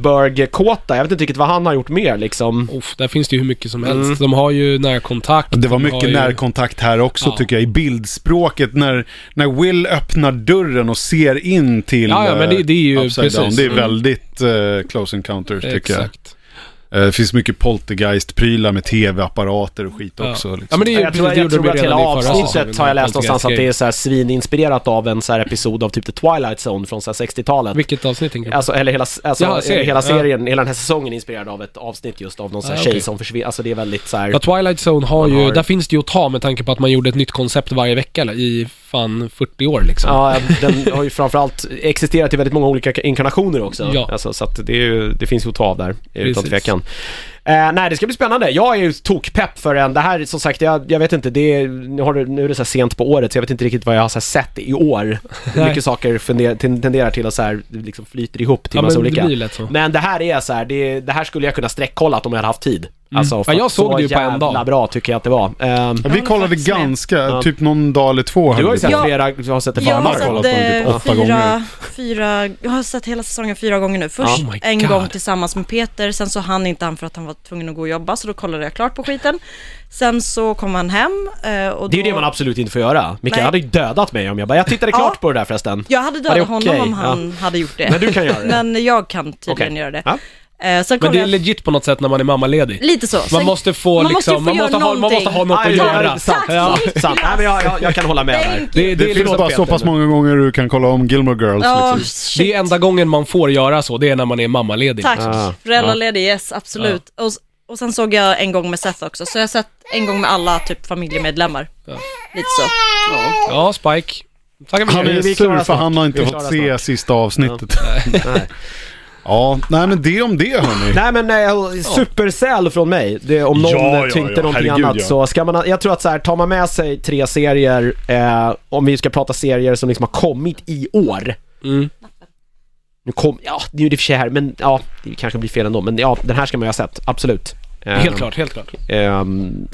Spielberg-kåta. Jag vet inte riktigt vad han har gjort mer liksom. Uff, där finns det ju hur mycket som helst. De har ju närkontakt. Mm. Det var de har mycket ju- närkontakt här också Ja. tycker jag, i bildspråket när, när Will öppnar dörren och ser in till Ja, ja, men eh, det- det är ju upside precis. down. Det är Mm. väldigt eh, close encounters tycker jag. Exakt. Eh, Det finns mycket poltergeist-prylar med tv-apparater och skit Ja. också. Liksom. Ja, men det är ju Jag precis, tror, det jag gjorde de tror ju att hela redan i förra avsnittet säsongen, har jag läst Poltergeist någonstans att Gate. det är så här svininspirerat av en så här episod av typ The Twilight Zone från så här 60-talet. Vilket avsnitt tänker du på? Alltså, eller hela, alltså, Jaha, serien. hela Ja. serien, hela den här säsongen är inspirerad av ett avsnitt just av någon sån här Ah, tjej okej. som försvinner. Alltså det är väldigt så här... Ja, Twilight Zone har Man ju, har- där finns det ju att ta med tanke på att man gjorde ett nytt koncept varje vecka eller, i fan 40 år liksom. Ja, den har ju framförallt existerat i väldigt många olika inkarnationer också. Ja. Alltså, så att det, är ju, det finns ju att ta av där, utan Precis. tvekan. Eh, nej, det ska bli spännande. Jag är ju tokpepp för en. Det här, som sagt, jag, jag vet inte, det är, nu, har det, nu är det så här sent på året så jag vet inte riktigt vad jag har så här sett i år. Nej. Mycket saker funder, ten- tenderar till att så här, liksom flyter ihop till Ja, massa men det olika. blir lätt så. Men det här är så här, det, det här skulle jag kunna sträckkollat om jag hade haft tid. Alltså, för Mm. Ja, jag att såg så det ju på en jävla dag. bra tycker jag att det var. Ehm, Ja, vi Jag kollade håller faktiskt med. ganska, Ja. typ någon dag eller två. du hade har ju vi sett på. Ja. flera, jag har sett det Jag Fan, man har har sett kollat förut. på den typ eh, åtta gånger. fyra, fyra, jag har sett hela säsongen fyra gånger nu. Först Oh my en God. gång tillsammans med Peter, sen så hann inte han för att han var tvungen att gå och jobba så då kollade jag klart på skiten. Sen så kom han hem eh, och Det är ju då... det man absolut inte får göra. Mikael Nej. hade ju dödat mig om jag bara, jag tittade Ja. klart på det där förresten. Jag hade Var det dödat okej? honom om han hade gjort det. Men du kan göra det. Men jag kan tydligen Okej. göra det. Ja. Eh, sen Men kollade det är jag... legit på något sätt när man är mammaledig. Lite så. Sen- Man måste få man måste ju liksom, man, göra måste ha, man någonting. måste ha något Ja, att ja, göra. ja, sant, Tack Ja. så mycket. Sant. Nej, men jag, jag, jag kan hålla med där. Thank Det, det, Det, är finns liksom, bara så Peter pass nu. många gånger du kan kolla om Gilmore Girls. Ja, liksom. shit. det är enda gången man får göra så, det är när man är mammaledig. Tack, Ah, föräldraledig, yes, absolut. Och, och sen såg jag en gång med Seth också, så jag har sett en gång med alla typ familjemedlemmar. Lite så. Ja, Spike. Tackar för Han det. är Vi är sur klara för snart. han har inte Vi är fått klara se snart. sista avsnittet. Nej. Ja, nej men det om det hörni. Nej men eh, supersäl från mig. Det, om någon eh, Ja, ja, tyckte ja. någonting Herregud, annat ja. så ska man, jag tror att så här, tar man med sig tre serier, eh, om vi ska prata serier som liksom har kommit i år. Mm. Nu kom, ja nu är det i och för sig här, men ja, det kanske blir fel ändå, men ja, den här ska man ju ha sett, absolut. Eh, Helt klart, helt klart. Eh,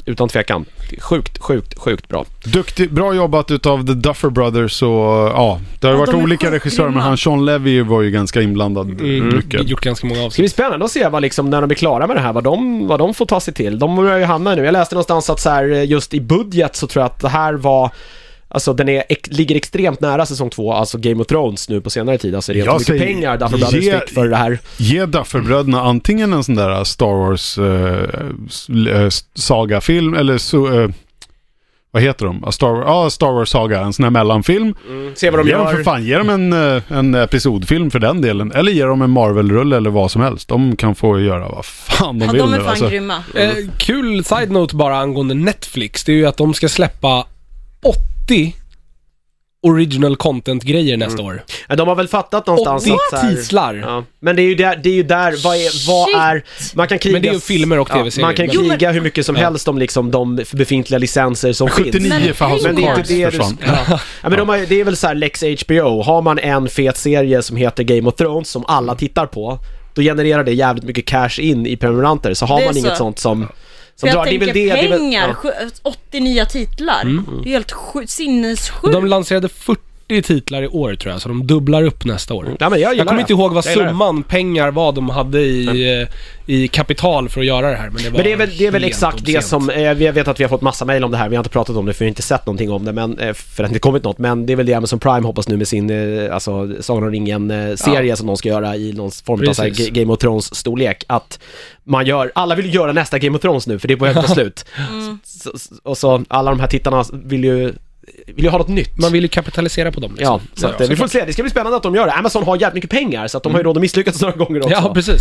utan tvekan. Sjukt, sjukt, sjukt bra. Duktig, bra jobbat utav The Duffer Brothers och ja, det har Ja, varit de är olika sjukt regissörer men grymma. han Sean Levy var ju ganska inblandad Mm. Vi har mycket. gjort ganska många Det ska avsnitt. bli spännande att se vad liksom, när de är klara med det här, vad de, vad de får ta sig till. De börjar ju hamna nu. Jag läste någonstans att så här, eh, just i budget så tror jag att det här var Alltså den är, ex, ligger extremt nära säsong två, alltså Game of Thrones nu på senare tid. Alltså det är Jag inte mycket säger, pengar Duffer Brothers ge- fick för det här. Ge Dufferbröderna antingen en sån där äh, Star Wars eh, s- eh, sagafilm eller så, eh, vad heter de? Ja, Star, ja, Star Wars saga, en sån här mellanfilm. Mm. Se vad de ge dem gör. för fan, ge dem en, eh, en episodfilm för den delen. Eller ge dem en Marvel-rulle eller vad som helst. De kan få göra vad fan de Ja, vill de är nu, fan alltså. grymma. Mm. Eh, kul side-note bara angående Netflix, det är ju att de ska släppa 80 original content-grejer Mm. nästa år. De har väl fattat någonstans 80 att så här, titlar! Ja. Men det är ju där, det är ju där vad är, vad är man kan kriga... Men det är ju filmer och tv-serier. Man kan Jo, kriga hur mycket som helst om liksom de befintliga licenser som finns. 79 för House Men of det är Cards inte det du... försvann. Ja. Ja, men de har, det är väl så här lex HBO. Har man en fet serie som heter Game of Thrones som alla tittar på, då genererar det jävligt mycket cash in i prenumeranter. Så har Det är man så. inget sånt som... För som jag är tänker väl det- är väl- pengar, ja. sju- 80 nya titlar. Det är helt sju- sinnessjukt. Mm. Mm. De lanserade 40 titlar i år tror jag, så de dubblar upp nästa år. Ja, men Mm. jag gillar Jag kommer det. inte ihåg vad Jag gillar det. Mm. summan pengar var de hade i, eh, i kapital för att göra det här. Men det, var Men det är väl, det är väl helt exakt det obscent. som, eh, jag vet att vi har fått massa mejl om det här, vi har inte pratat om det för vi har inte sett någonting om det, men eh, för att det inte kommit något. Men det är väl det Amazon Prime hoppas nu med sin, eh, alltså Sagan om ringen-serie som de ska göra i någon form av så här Precis. Ga- Game of Thrones-storlek. Att man gör, alla vill ju göra nästa Game of Thrones nu för det är på väg att ta slut. Så, så- och så alla de här tittarna vill ju, vill ju ha något nytt. Man vill ju kapitalisera på dem Ja, liksom. så att, eh, vi får se. Det ska bli spännande att de gör det. Amazon har jävligt mycket pengar, så att de har ju råd att misslyckas några gånger också. Mm. Ja, precis.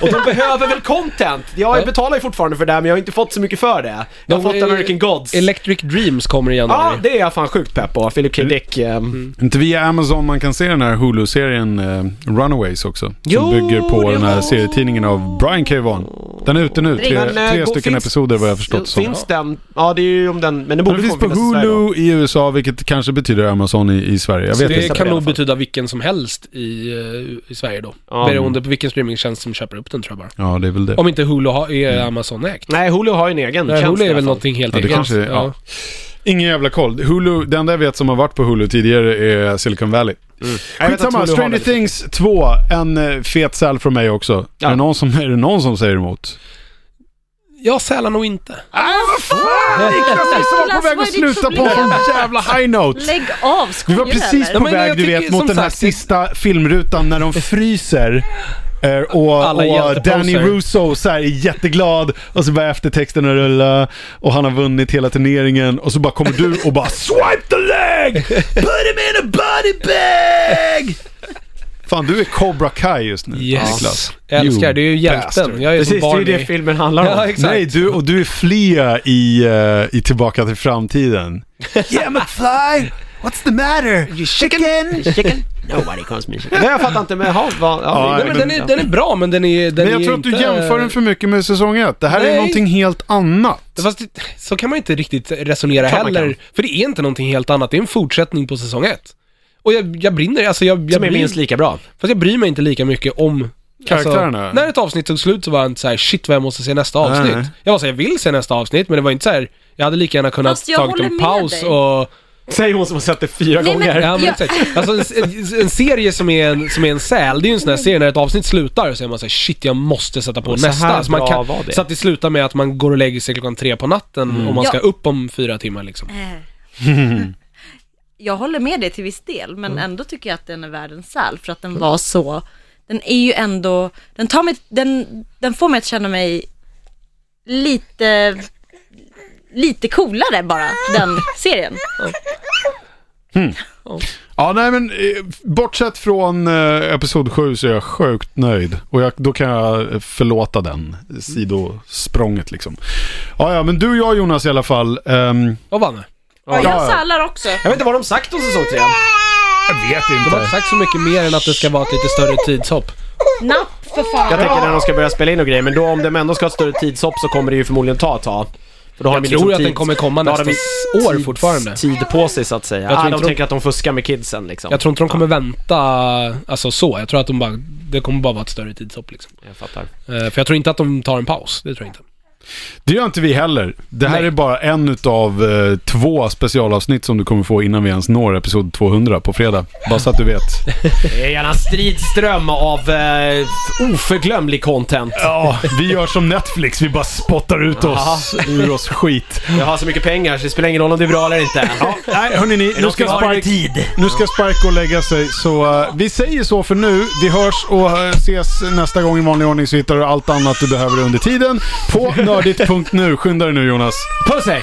Och de behöver väl content? Jag betalar ju fortfarande för det här men jag har inte fått så mycket för det. Jag De- har fått American Gods. Ja, Electric Dreams kommer i januari. det är jag fan sjukt pepp på. Philip K. Dick. ehm, Inte via Amazon man kan se den här Hulu-serien eh, Runaways också. Som Jo, bygger på det den här var- serietidningen av Brian K. Vaughan. Den är ute nu, tre, Men, eh, tre går- stycken finns- episoder vad jag har förstått som. Finns den? Ja, det är ju om den... Men den borde Den finns på komma finnas i Sverige då. Hulu i USA, vilket kanske betyder Amazon i, i Sverige. Jag Så vet det inte. inte. kan I alla nog fall. betyda vilken som helst i, eh, i Sverige då. Ja. Beroende på vilken streamingtjänst som köper upp den tror jag bara. Ja, det är väl det. Om inte Hulu har, är Mm. Amazon-ägt. Nej, Hulu har ju en egen Nej, tjänst Hulu i är väl alla fall. någonting helt Ja, det eget. kanske är- ja. Ingen jävla koll. Hulu, det enda jag vet som har varit på Hulu tidigare är Silicon Valley. Jag vet att Hulu Skitsamma, har Stranger väldigt- Things 2, en eh, fet säl från mig också. Ja. Är, det någon som, är det någon som säger emot? Jag sälar nog inte. Ah, Niklas liksom var på Niklas, väg vad att är ditt sluta på problem? en jävla high note. Lägg av, Vi skojar var precis eller? på Nej, men väg, jag du tycker, vet, mot som den här sagt, det- sista filmrutan när de fryser. eh, Och, Alla och hjälteposer. Danny Russo så här är jätteglad och så börjar eftertexten att rulla och han har vunnit hela turneringen och så bara kommer du och bara Swipe the leg! Put him in a body bag! Fan du är Cobra Kai just nu Yes. Niklas. Jag älskar, You det är ju bastard. hjälten. Jag är som Precis, det är ju Barney. det filmen handlar om. Ja, exakt. Nej, du, och du är Flea i, eh, i Tillbaka till framtiden. yeah McFly! What's the matter? Chicken! Chicken? Nobody comes me chicken. Nej, jag fattar inte, men jaha, vad... Ja, Nej, men den är, den är bra, men den är... Den Men jag är tror att du inte- jämför den för mycket med säsong ett. Det här är Nej. någonting helt annat. Fast det, så kan man inte riktigt resonera Klart man heller. kan. För det är inte någonting helt annat. Det är en fortsättning på säsong ett. Och jag, jag brinner, alltså jag, jag Som är brinner, minst lika bra. fast jag bryr mig inte lika mycket om Karaktärerna? Alltså, när ett avsnitt tog slut så var jag inte såhär, shit vad jag måste se nästa avsnitt. Nej. Jag var såhär, jag vill se nästa avsnitt, men det var inte såhär, jag hade lika gärna kunnat Fast jag tagit håller en med paus dig. och Säger hon som har sett det fyra Nej, men- gånger. Ja, men Ja. exakt. Alltså, en, en serie som är en, som är en säl, det är ju en sån här serie när ett avsnitt slutar så är man såhär shit jag måste sätta på Och så nästa. här Alltså, man bra kan, var det. Mm. Så att det slutar med att man går och lägger sig klockan tre på natten och man ska Ja. upp om fyra timmar liksom. Eh. Jag håller med dig till viss del, men Mm. ändå tycker jag att den är värd en säl för att den var så, den är ju ändå, den tar mig, den, den får mig att känna mig lite, lite coolare bara, den serien. Ja, nej men eh, bortsett från eh, Episod 7 så är jag sjukt nöjd. Och jag, då kan jag eh, förlåta den sidosprånget liksom. Ja, ja, men du och jag Jonas i alla fall. ehm, Vad vann det? Jag Ja, ja. sälar också. Jag vet inte vad de sagt om säsong tre. jag vet De inte. har inte sagt så mycket mer än att det ska vara ett lite större tidshopp. Napp för fan. Jag tänker när de ska börja spela in och grejer, men då om de ändå ska ha ett större tidshopp så kommer det ju förmodligen ta ett tag. För då har Jag de ju tror liksom att den tid- kommer komma då har de nästa ju år tids- fortfarande. Tid på sig så att säga. tror ah, de inte de- tänker att de fuskar med kidsen liksom. Jag tror inte de kommer vänta, alltså så. Jag tror att de bara, det kommer bara vara ett större tidshopp liksom. Jag fattar. Eh, För jag tror inte att de tar en paus, det tror jag inte. Det gör inte vi heller. Det här Nej. är bara en av eh, två specialavsnitt som du kommer få innan vi ens når Episod 200 på fredag. Bara så att du vet. Det är gärna en stridström av eh, oförglömlig content. Ja, vi gör som Netflix. Vi bara spottar ut oss ur oss skit. Jag har så mycket pengar så det spelar ingen roll om det är bra eller inte. Ja, nej, hörni ni. Nu ska Spike... tid. Nu ska Sparko lägga sig, så eh, vi säger så för nu. Vi hörs och eh, ses nästa gång i vanlig ordning så hittar du allt annat du behöver under tiden på nördigt.nu. Skynda dig nu Jonas. Puss hej!